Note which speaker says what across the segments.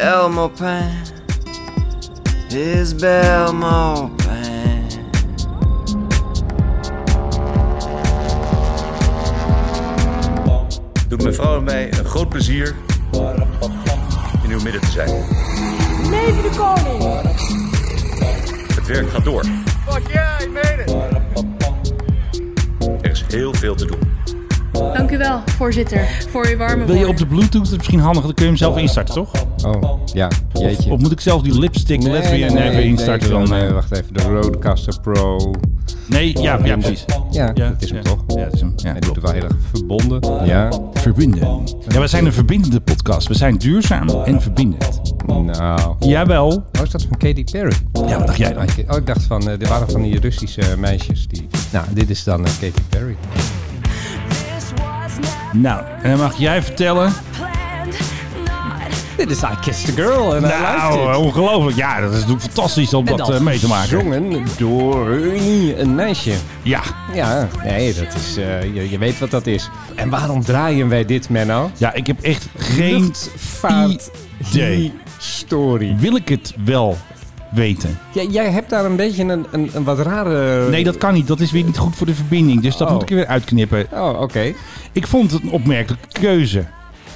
Speaker 1: Belmore Pine is Belmore Pine.
Speaker 2: Doet mevrouw en mij een groot plezier in uw midden te zijn.
Speaker 3: Leven de koning!
Speaker 2: Het werk gaat door.
Speaker 4: Fuck yeah, ik meen het.
Speaker 2: Er is heel veel te doen.
Speaker 5: Dank u wel, voorzitter, voor uw warme
Speaker 6: Wil je op
Speaker 5: woorden.
Speaker 6: de Bluetooth? Dat is misschien handig. Dan kun je hem zelf instarten, toch?
Speaker 7: Oh, ja. Jeetje.
Speaker 6: Of moet ik zelf die lipstick nee, even instarten
Speaker 7: nee,
Speaker 6: dan? eh?
Speaker 7: nee, wacht even. De Rodecaster Pro.
Speaker 6: Nee, ja, ja, precies.
Speaker 7: Ja,
Speaker 6: Ja,
Speaker 7: dat is hem
Speaker 6: ja.
Speaker 7: toch?
Speaker 6: Ja, dat is hem. Ja,
Speaker 7: Hij doet
Speaker 6: klopt.
Speaker 7: het wel heel erg verbonden. Ja.
Speaker 6: Verbinden. Ja, we zijn een verbindende podcast. We zijn duurzaam en verbindend.
Speaker 7: Nou.
Speaker 6: Jawel.
Speaker 7: Oh, is dat van Katy Perry?
Speaker 6: Ja, wat dacht jij dan?
Speaker 7: Oh, ik dacht van, eh, er waren van die Russische meisjes die... Nou, dit is dan eh, Katy Perry.
Speaker 6: Nou, en dan mag jij vertellen.
Speaker 7: Dit is I Kissed a Girl en oh,
Speaker 6: Nou, ongelooflijk. Ja, dat is natuurlijk fantastisch om dat eh, mee te maken.
Speaker 7: Gezongen door een meisje.
Speaker 6: Ja.
Speaker 7: Ja, nee, dat is, eh, je, je weet wat dat is. En waarom draaien wij dit, Menno?
Speaker 6: ja, ik heb echt geen idee.
Speaker 7: Story.
Speaker 6: Wil ik het wel weten?
Speaker 7: Jij, jij hebt daar een beetje een, een, een wat rare...
Speaker 6: Nee, dat kan niet. Dat is weer niet goed voor de verbinding. Dus dat
Speaker 7: Oh.
Speaker 6: moet ik er weer uitknippen.
Speaker 7: Oh, oké.
Speaker 6: Ik vond het een opmerkelijke keuze.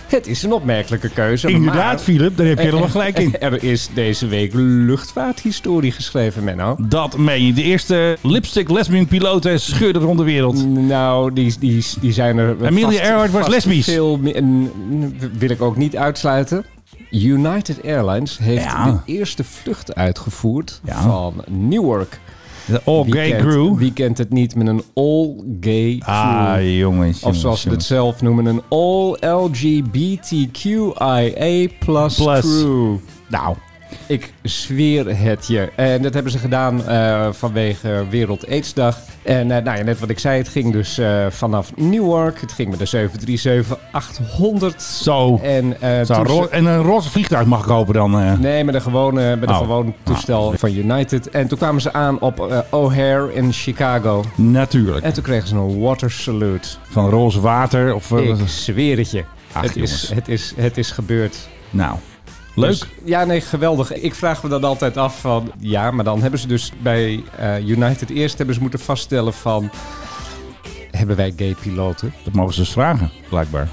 Speaker 7: Het is een opmerkelijke keuze.
Speaker 6: Inderdaad,
Speaker 7: maar...
Speaker 6: Philip, daar heb je helemaal gelijk in.
Speaker 7: Er is deze week luchtvaarthistorie geschreven, Menno.
Speaker 6: Dat meen je. De eerste lipstick lesbian piloten scheurde rond de wereld.
Speaker 7: Nou, die, die, die zijn er.
Speaker 6: Amelia Earhart was
Speaker 7: vast
Speaker 6: lesbisch.
Speaker 7: Veel, meer- en, mm, wil ik ook niet uitsluiten. United Airlines heeft
Speaker 6: Ja.
Speaker 7: de eerste vlucht uitgevoerd
Speaker 6: Ja.
Speaker 7: van Newark.
Speaker 6: De all
Speaker 7: Wie
Speaker 6: gay
Speaker 7: kent-
Speaker 6: crew.
Speaker 7: Wie kent het niet met een all-gay crew?
Speaker 6: Ah, jongens.
Speaker 7: of zoals ze het zelf noemen, een all-LGBTQIA plus
Speaker 6: Plus.
Speaker 7: crew.
Speaker 6: Nou,
Speaker 7: Ik zweer het je. En dat hebben ze gedaan eh, vanwege Wereld Aidsdag. En eh, nou ja, net wat ik zei, het ging dus eh, vanaf Newark. Het ging met de 737-800.
Speaker 6: zo.
Speaker 7: En, eh,
Speaker 6: Zo,
Speaker 7: toen ze-
Speaker 6: ro- en een roze vliegtuig mag ik hopen dan. eh.
Speaker 7: Nee, met een gewone, met een
Speaker 6: Oh.
Speaker 7: gewoon toestel van United. En toen kwamen ze aan op eh, O'Hare in Chicago.
Speaker 6: Natuurlijk.
Speaker 7: En toen kregen ze een water salute.
Speaker 6: Van roze water. Of, eh,
Speaker 7: Ik zweer het je.
Speaker 6: Ach,
Speaker 7: het, is,
Speaker 6: jongens.
Speaker 7: het, is, het is gebeurd.
Speaker 6: nou, leuk.
Speaker 7: Dus- ja, nee, geweldig. Ik vraag me dan altijd af van... Ja, maar dan hebben ze dus bij eh, United eerst hebben ze moeten vaststellen van... Hebben wij gay piloten?
Speaker 6: dat mogen ze dus vragen, blijkbaar.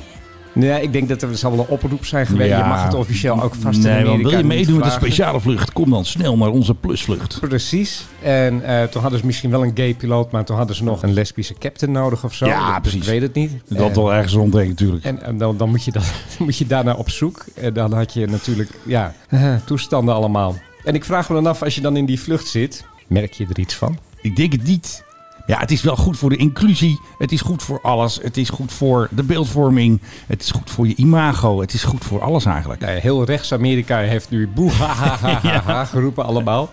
Speaker 7: Nee, ik denk dat er zal wel een oproep zijn geweest.
Speaker 6: Ja.
Speaker 7: Je mag het officieel ook vast
Speaker 6: Nee,
Speaker 7: in
Speaker 6: want
Speaker 7: Amerika
Speaker 6: wil je
Speaker 7: niet
Speaker 6: meedoen met een
Speaker 7: vragen.
Speaker 6: speciale vlucht? Kom dan snel naar onze plusvlucht.
Speaker 7: Precies. En eh, toen hadden ze misschien wel een gay piloot... maar toen hadden ze nog een lesbische captain nodig of zo.
Speaker 6: Ja,
Speaker 7: Ik-
Speaker 6: precies.
Speaker 7: Ik weet het niet.
Speaker 6: Dat
Speaker 7: Eh,
Speaker 6: wel ergens ronddenken natuurlijk.
Speaker 7: En, en dan, dan, moet je dan, dan moet je daarna op zoek. En dan had je natuurlijk, ja, toestanden allemaal. En ik vraag me dan af, als je dan in die vlucht zit, merk je er iets van?
Speaker 6: Ik denk het niet. Ja, het is wel goed voor de inclusie. Het is goed voor alles. Het is goed voor de beeldvorming. Het is goed voor je imago. Het is goed voor alles eigenlijk.
Speaker 7: Nou ja, heel rechts Amerika heeft nu boe ha, ha, ha, ha, ha, geroepen allemaal.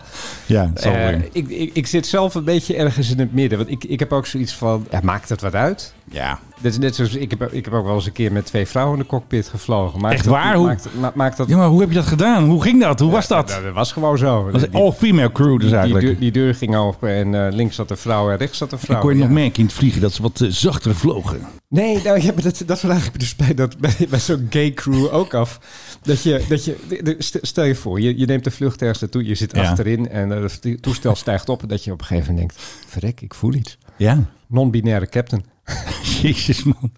Speaker 6: Ja,
Speaker 7: Eh, ik, ik, ik zit zelf een beetje ergens in het midden. Want ik, ik heb ook zoiets van, ja, maakt het wat uit?
Speaker 6: ja.
Speaker 7: Dat is net zoals, ik heb, ik heb ook wel eens een keer met twee vrouwen in de cockpit gevlogen. Maakt
Speaker 6: Echt
Speaker 7: dat-
Speaker 6: waar? Hoe-
Speaker 7: Maakt, ma- maakt dat...
Speaker 6: ja, maar hoe heb je dat gedaan? Hoe ging dat? Hoe was dat?
Speaker 7: Nou, dat was gewoon zo.
Speaker 6: was
Speaker 7: Die-
Speaker 6: een all-female crew dus
Speaker 7: die, die,
Speaker 6: eigenlijk.
Speaker 7: deur, die deur ging open en eh, links zat een vrouw en rechts zat een vrouw.
Speaker 6: ik kon je
Speaker 7: Ja.
Speaker 6: nog merken in het vliegen dat ze wat eh, zachter vlogen.
Speaker 7: Nee, nou, ja, maar dat, dat vraag ik me dus bij, dat- bij, bij zo'n gay crew ook af. Dat je, dat je, de- de- st- stel je voor, je, je neemt de vlucht ergens naartoe, je zit
Speaker 6: Ja.
Speaker 7: achterin en eh, het toestel stijgt op. En dat je op een gegeven moment denkt, verrek, ik voel iets.
Speaker 6: Ja.
Speaker 7: Non-binaire captain.
Speaker 6: Jezus man.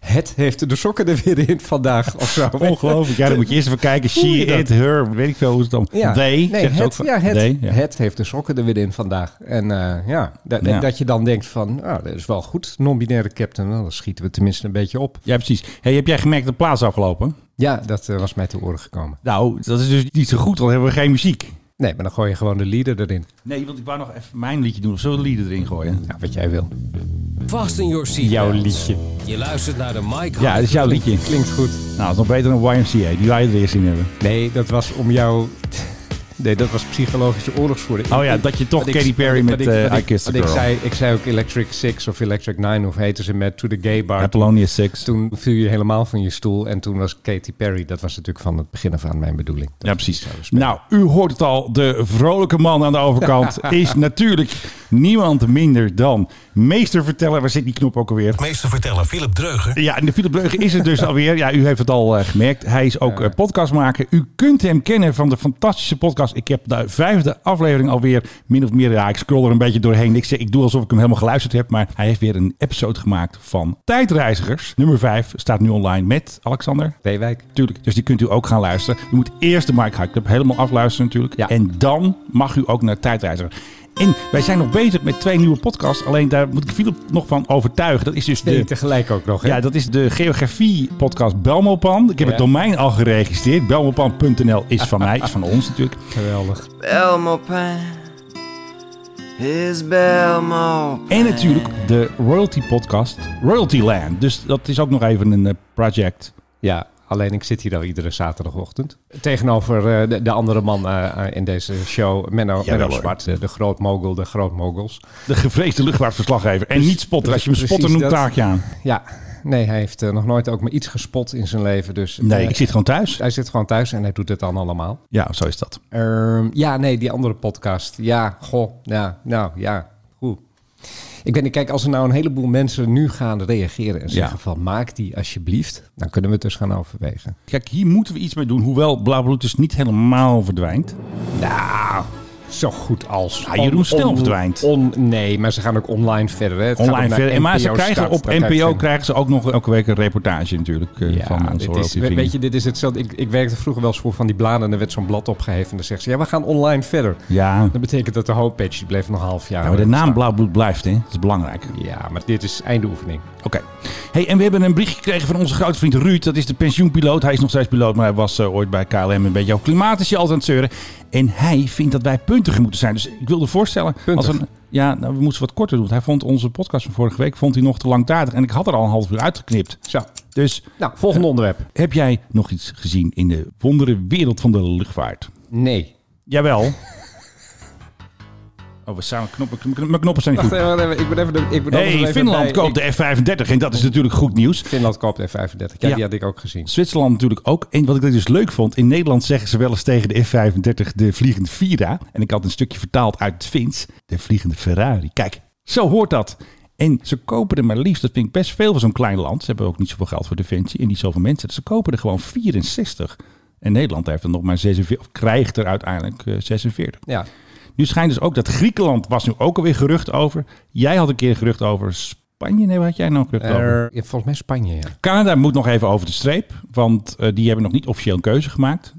Speaker 7: Het heeft de sokken er weer in vandaag of zo.
Speaker 6: Ongelooflijk. Ja, dan moet je eerst even kijken.
Speaker 7: Hoe doe
Speaker 6: She,
Speaker 7: je dat?
Speaker 6: it, her. Weet ik veel hoe het dan...
Speaker 7: Ja,
Speaker 6: They.
Speaker 7: nee,
Speaker 6: zegt ze
Speaker 7: het,
Speaker 6: ook van-
Speaker 7: ja, het,
Speaker 6: They, ja.
Speaker 7: het heeft de sokken er weer in vandaag. En eh, ja, dat,
Speaker 6: Ja.
Speaker 7: dat je dan denkt van, nou, dat is wel goed, non-binaire captain. Nou, dan schieten we tenminste een beetje op.
Speaker 6: Ja, precies. Hey, heb jij gemerkt dat plaats afgelopen?
Speaker 7: Ja, dat eh, was mij te oren gekomen.
Speaker 6: Nou, dat is dus niet zo goed, want hebben we geen muziek.
Speaker 7: Nee, maar dan gooi je gewoon de leader erin.
Speaker 6: Nee, want ik wou nog even mijn liedje doen. Of zullen we de lieden erin gooien?
Speaker 7: Ja, wat jij wil.
Speaker 8: Vast in your seat.
Speaker 7: Jouw liedje.
Speaker 8: Je luistert naar de Mike
Speaker 6: Ja, dat is jouw liedje.
Speaker 7: Klinkt goed.
Speaker 6: Nou, dat is nog beter dan YMCA. Die wij er eerst in hebben.
Speaker 7: Nee, dat was om jou Nee, dat was psychologische oorlogsvoering.
Speaker 6: Oh ja, dat je toch
Speaker 7: Wat ik-
Speaker 6: Katy Perry
Speaker 7: wat
Speaker 6: met
Speaker 7: ik- wat
Speaker 6: eh,
Speaker 7: ik-
Speaker 6: I Kissed
Speaker 7: wat
Speaker 6: a
Speaker 7: ik
Speaker 6: Girl.
Speaker 7: zei, ik zei ook Electric Six of Electric Nine, of heette ze met To The Gay Bar.
Speaker 6: Apollonia 6.
Speaker 7: Toen viel je helemaal van je stoel en toen was Katy Perry, dat was natuurlijk van het begin af aan mijn bedoeling. Dat
Speaker 6: Ja,
Speaker 7: is
Speaker 6: precies.
Speaker 7: zo respect.
Speaker 6: Nou, u hoort het al. De vrolijke man aan de overkant is natuurlijk niemand minder dan meester vertellen. Waar zit die knop ook alweer?
Speaker 9: Meester vertellen, Philip Dreugen.
Speaker 6: Ja, en de Philip Breugen is het dus alweer. Ja, u heeft het al eh, gemerkt. Hij is ook eh, podcastmaker. U kunt hem kennen van de fantastische podcast. Ik heb de vijfde aflevering alweer min of meer. Ja, ik scroll er een beetje doorheen. Ik, zeg, ik doe alsof ik hem helemaal geluisterd heb. Maar hij heeft weer een episode gemaakt van Tijdreizigers. Nummer vijf staat nu online met Alexander.
Speaker 7: Reewijk.
Speaker 6: Tuurlijk, dus die kunt u ook gaan luisteren. U moet eerst de Mike High Club helemaal afluisteren natuurlijk.
Speaker 7: Ja.
Speaker 6: En dan mag u ook naar Tijdreiziger. En wij zijn nog bezig met twee nieuwe podcasts. Alleen daar moet ik Philip nog van overtuigen. Dat is dus
Speaker 7: Twee
Speaker 6: de
Speaker 7: tegelijk ook nog. hè?
Speaker 6: ja, dat is de geografie-podcast Belmopan. Ik heb
Speaker 7: Ja.
Speaker 6: het domein al geregistreerd. Belmopan.nl is van mij, is van ons natuurlijk.
Speaker 7: Geweldig.
Speaker 1: Belmopin is Belmopin.
Speaker 6: En natuurlijk de royalty-podcast Royalty Land. Dus dat is ook nog even een eh, project.
Speaker 7: Ja, alleen ik zit hier al iedere zaterdagochtend. Tegenover eh, de, de andere man eh, eh, in deze show, Menno,
Speaker 6: Jawel,
Speaker 7: Menno
Speaker 6: hoor.
Speaker 7: Zwart, eh, de, de groot mogel, de groot mogels.
Speaker 6: De gevreesde luchtvaartverslaggever. En niet spotter. Als je hem
Speaker 7: precies
Speaker 6: spotter noemt,
Speaker 7: dat.
Speaker 6: taak je aan.
Speaker 7: Ja, nee, hij heeft eh, nog nooit ook maar iets gespot in zijn leven. Dus,
Speaker 6: Nee,
Speaker 7: eh,
Speaker 6: ik zit gewoon thuis.
Speaker 7: Hij zit gewoon thuis en hij doet het dan allemaal.
Speaker 6: Ja, zo is dat.
Speaker 7: Ehm, ja, nee, die andere podcast. Ja, goh, ja, nou ja, goed. Ik weet niet, kijk, als er nou een heleboel mensen nu gaan reageren en zeggen van maak die alsjeblieft, dan kunnen we het dus gaan overwegen.
Speaker 6: Kijk, hier moeten we iets mee doen. Hoewel Blauwbloed dus niet helemaal verdwijnt.
Speaker 7: Nou, zo goed als.
Speaker 6: Ja, Jeroen Snel verdwijnt.
Speaker 7: on- nee, maar ze gaan ook online verder. Hè. Het gaat ook
Speaker 6: Online
Speaker 7: naar
Speaker 6: verder. En Maar ze
Speaker 7: NPO
Speaker 6: krijgen
Speaker 7: Start.
Speaker 6: op
Speaker 7: Dan krijg je
Speaker 6: NPO
Speaker 7: een-
Speaker 6: krijgen ze ook nog elke week een reportage natuurlijk eh,
Speaker 7: Ja,
Speaker 6: van onze
Speaker 7: dit is,
Speaker 6: royalty
Speaker 7: we-
Speaker 6: vrienden.
Speaker 7: weet je, dit is hetzelfde. Ik, ik werkte vroeger wel eens voor van die bladen en er werd zo'n blad opgeheven. En dan zegt ze, ja, we gaan online verder.
Speaker 6: Ja.
Speaker 7: Dat betekent dat de homepage, die bleef nog een half jaar.
Speaker 6: Ja, maar de naam
Speaker 7: staan.
Speaker 6: Blauwbloed blijft, hè? Dat is belangrijk.
Speaker 7: Ja, maar dit is einde oefening.
Speaker 6: Oké. Hey, en we hebben een bericht gekregen van onze grote vriend Ruud. Dat is de pensioenpiloot. Hij is nog steeds piloot, maar hij was eh, ooit bij KLM een beetje. Ook klimaat is je altijd aan het zeuren. En hij vindt dat wij puntiger moeten zijn. Dus ik wilde voorstellen.
Speaker 7: Puntig?
Speaker 6: Als we, ja, nou, we moesten wat korter doen. Want hij vond onze podcast van vorige week vond hij nog te langdradig. En ik had er al een half uur uitgeknipt.
Speaker 7: Zo.
Speaker 6: Dus
Speaker 7: Nou, volgende onderwerp.
Speaker 6: heb jij nog iets gezien in de wondere wereld van de luchtvaart?
Speaker 7: Nee.
Speaker 6: Jawel. Oh, we samen knoppen. knoppen- Mijn knoppen zijn niet
Speaker 7: Wacht
Speaker 6: goed.
Speaker 7: even, even, ik ben even... Ik ben anders
Speaker 6: Hey,
Speaker 7: even
Speaker 6: Finland
Speaker 7: bij-
Speaker 6: koopt
Speaker 7: ik-
Speaker 6: de F-35 en dat is natuurlijk goed nieuws.
Speaker 7: Finland koopt F-35. Ja,
Speaker 6: Ja.
Speaker 7: die had ik ook gezien.
Speaker 6: Zwitserland natuurlijk ook. En wat ik dus leuk vond, in Nederland zeggen ze wel eens tegen de F-35 de vliegende Vira. En ik had een stukje vertaald uit het Fins, de vliegende Ferrari. Kijk, zo hoort dat. En ze kopen er maar liefst, dat vind ik best veel voor zo'n klein land. Ze hebben ook niet zoveel geld voor defensie en niet zoveel mensen. Dus ze kopen er gewoon 64. En Nederland heeft er nog maar 46, of krijgt er uiteindelijk eh, 46.
Speaker 7: Ja.
Speaker 6: Nu schijnt dus ook dat Griekenland was nu ook alweer gerucht over. Jij had een keer gerucht over Spanje. Nee, waar had jij nou een gerucht over?
Speaker 7: Er- ja, eh, volgens mij Spanje, ja.
Speaker 6: Canada moet nog even over de streep, want eh, die hebben nog niet officieel een keuze gemaakt.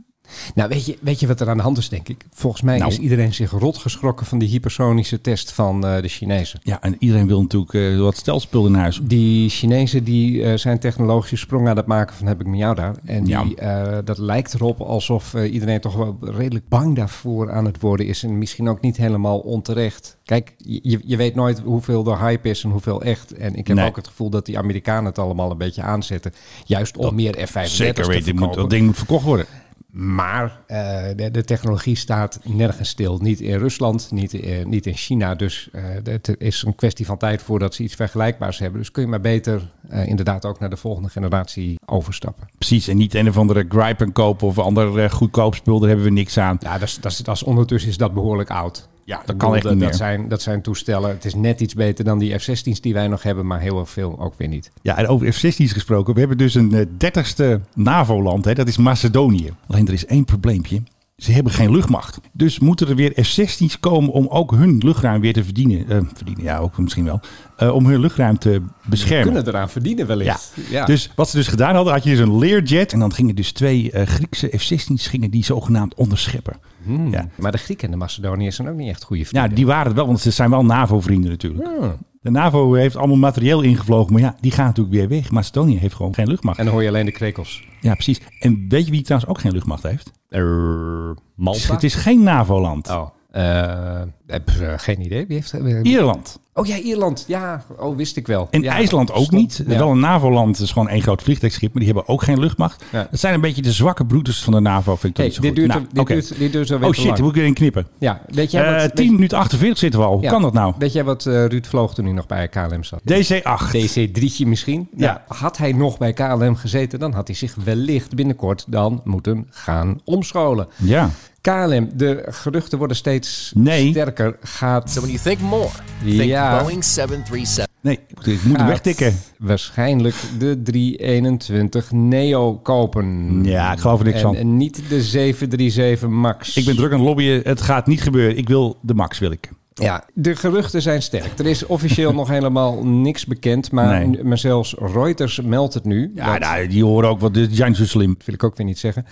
Speaker 7: Nou, weet je, weet je wat er aan de hand is, denk ik? Volgens mij
Speaker 6: Nou.
Speaker 7: is iedereen zich rot geschrokken van die hypersonische test van eh, de Chinezen.
Speaker 6: Ja, en iedereen wil natuurlijk eh, wat stelspul in huis.
Speaker 7: Die Chinezen die, eh, zijn technologische sprong aan het maken van heb ik mijn jou daar. En
Speaker 6: Ja.
Speaker 7: die, eh, dat lijkt erop alsof eh, iedereen toch wel redelijk bang daarvoor aan het worden is. En misschien ook niet helemaal onterecht. Kijk, je, je weet nooit hoeveel de hype is en hoeveel echt. En ik heb
Speaker 6: Nee.
Speaker 7: ook het gevoel dat die Amerikanen het allemaal een beetje aanzetten. Juist om meer F-35
Speaker 6: Zeker
Speaker 7: te
Speaker 6: weten, dit moet-
Speaker 7: verkopen.
Speaker 6: dat ding moet verkocht worden.
Speaker 7: Maar eh, de, de technologie staat nergens stil. Niet in Rusland, niet, in- niet in China. Dus eh, het is een kwestie van tijd voordat ze iets vergelijkbaars hebben. Dus kun je maar beter eh, inderdaad ook naar de volgende generatie overstappen.
Speaker 6: Precies, en niet een of andere gripen kopen of ander eh, goedkoop spul, daar hebben we niks aan.
Speaker 7: Ja, dat is, dat is, dat is, ondertussen is dat behoorlijk oud.
Speaker 6: Ja, dat
Speaker 7: Ik
Speaker 6: kan
Speaker 7: bedoel,
Speaker 6: echt niet meer.
Speaker 7: Dat zijn, dat zijn toestellen. Het is net iets beter dan die F-16's die wij nog hebben, maar heel erg veel ook weer niet.
Speaker 6: Ja, en over F-16's gesproken, we hebben dus een dertigste NAVO-land, hè, dat is Macedonië. Alleen er is één probleempje. Ze hebben geen luchtmacht. Dus moeten er weer F-16's komen om ook hun luchtruim weer te verdienen. eh, verdienen, ja, ook misschien wel. eh, om hun luchtruim te beschermen.
Speaker 7: Kunnen eraan verdienen
Speaker 6: Ja.
Speaker 7: wellicht.
Speaker 6: Dus wat ze dus gedaan hadden, had je dus een Learjet. En dan gingen dus twee eh, Griekse F-16's gingen die zogenaamd onderscheppen. Ja.
Speaker 7: Maar de Grieken en de Macedoniërs zijn ook niet echt goede
Speaker 6: ja,
Speaker 7: vrienden.
Speaker 6: die waren het wel, want ze zijn wel NAVO-vrienden natuurlijk.
Speaker 7: Ah.
Speaker 6: De NAVO heeft allemaal materieel ingevlogen, maar ja, die gaan natuurlijk weer weg. Macedonië heeft gewoon geen luchtmacht.
Speaker 7: En dan hoor je alleen de krekels.
Speaker 6: Ja, precies. En weet je wie trouwens ook geen luchtmacht heeft?
Speaker 7: Er, Malta?
Speaker 6: Het is geen NAVO-land.
Speaker 7: Oh, Eh, heb eh, geen idee. Wie heeft eh,
Speaker 6: Ierland.
Speaker 7: Oh ja, Ierland. Ja, oh, wist ik wel.
Speaker 6: En
Speaker 7: Ja,
Speaker 6: IJsland ook
Speaker 7: stom.
Speaker 6: niet.
Speaker 7: Ja.
Speaker 6: Wel een NAVO-land is gewoon één groot vliegtuigschip, maar die hebben ook geen luchtmacht.
Speaker 7: Ja.
Speaker 6: Dat zijn een beetje de zwakke broeders van de NAVO, vind ik toch
Speaker 7: Hey,
Speaker 6: niet zo
Speaker 7: dit,
Speaker 6: goed.
Speaker 7: duurt,
Speaker 6: Nou,
Speaker 7: dit,
Speaker 6: oké.
Speaker 7: duurt, dit duurt zo weer
Speaker 6: Oh
Speaker 7: te
Speaker 6: shit,
Speaker 7: lang.
Speaker 6: daar moet ik erin knippen.
Speaker 7: Ja, weet jij
Speaker 6: Eh
Speaker 7: wat...
Speaker 6: 10 minuten 48 zitten we al. Hoe
Speaker 7: ja.
Speaker 6: kan dat nou?
Speaker 7: Weet jij wat eh, Ruud vloog toen hij nog bij KLM zat?
Speaker 6: DC-8.
Speaker 7: DC-3'tje misschien.
Speaker 6: Ja.
Speaker 7: Nou, had hij nog bij KLM gezeten, dan had hij zich wellicht binnenkort dan moeten gaan omscholen.
Speaker 6: Ja.
Speaker 7: KLM, de geruchten worden steeds
Speaker 6: Nee.
Speaker 7: sterker. Gaat
Speaker 9: So when you think more, think
Speaker 7: Ja.
Speaker 9: Boeing 737.
Speaker 6: Nee, ik moet- ik moet hem
Speaker 7: gaat
Speaker 6: wegtikken.
Speaker 7: waarschijnlijk de 321 Neo kopen.
Speaker 6: Ja, ik geloof er niks
Speaker 7: en,
Speaker 6: van.
Speaker 7: en niet de 737 Max.
Speaker 6: Ik ben druk aan het lobbyen. Het gaat niet gebeuren. Ik wil de max, wil ik.
Speaker 7: Ja, de geruchten zijn sterk. Er is officieel nog helemaal niks bekend, maar,
Speaker 6: Nee.
Speaker 7: maar zelfs Reuters meldt het nu.
Speaker 6: Ja, nou, die horen ook wat. Dit zijn zo slim.
Speaker 7: wil ik ook weer niet zeggen.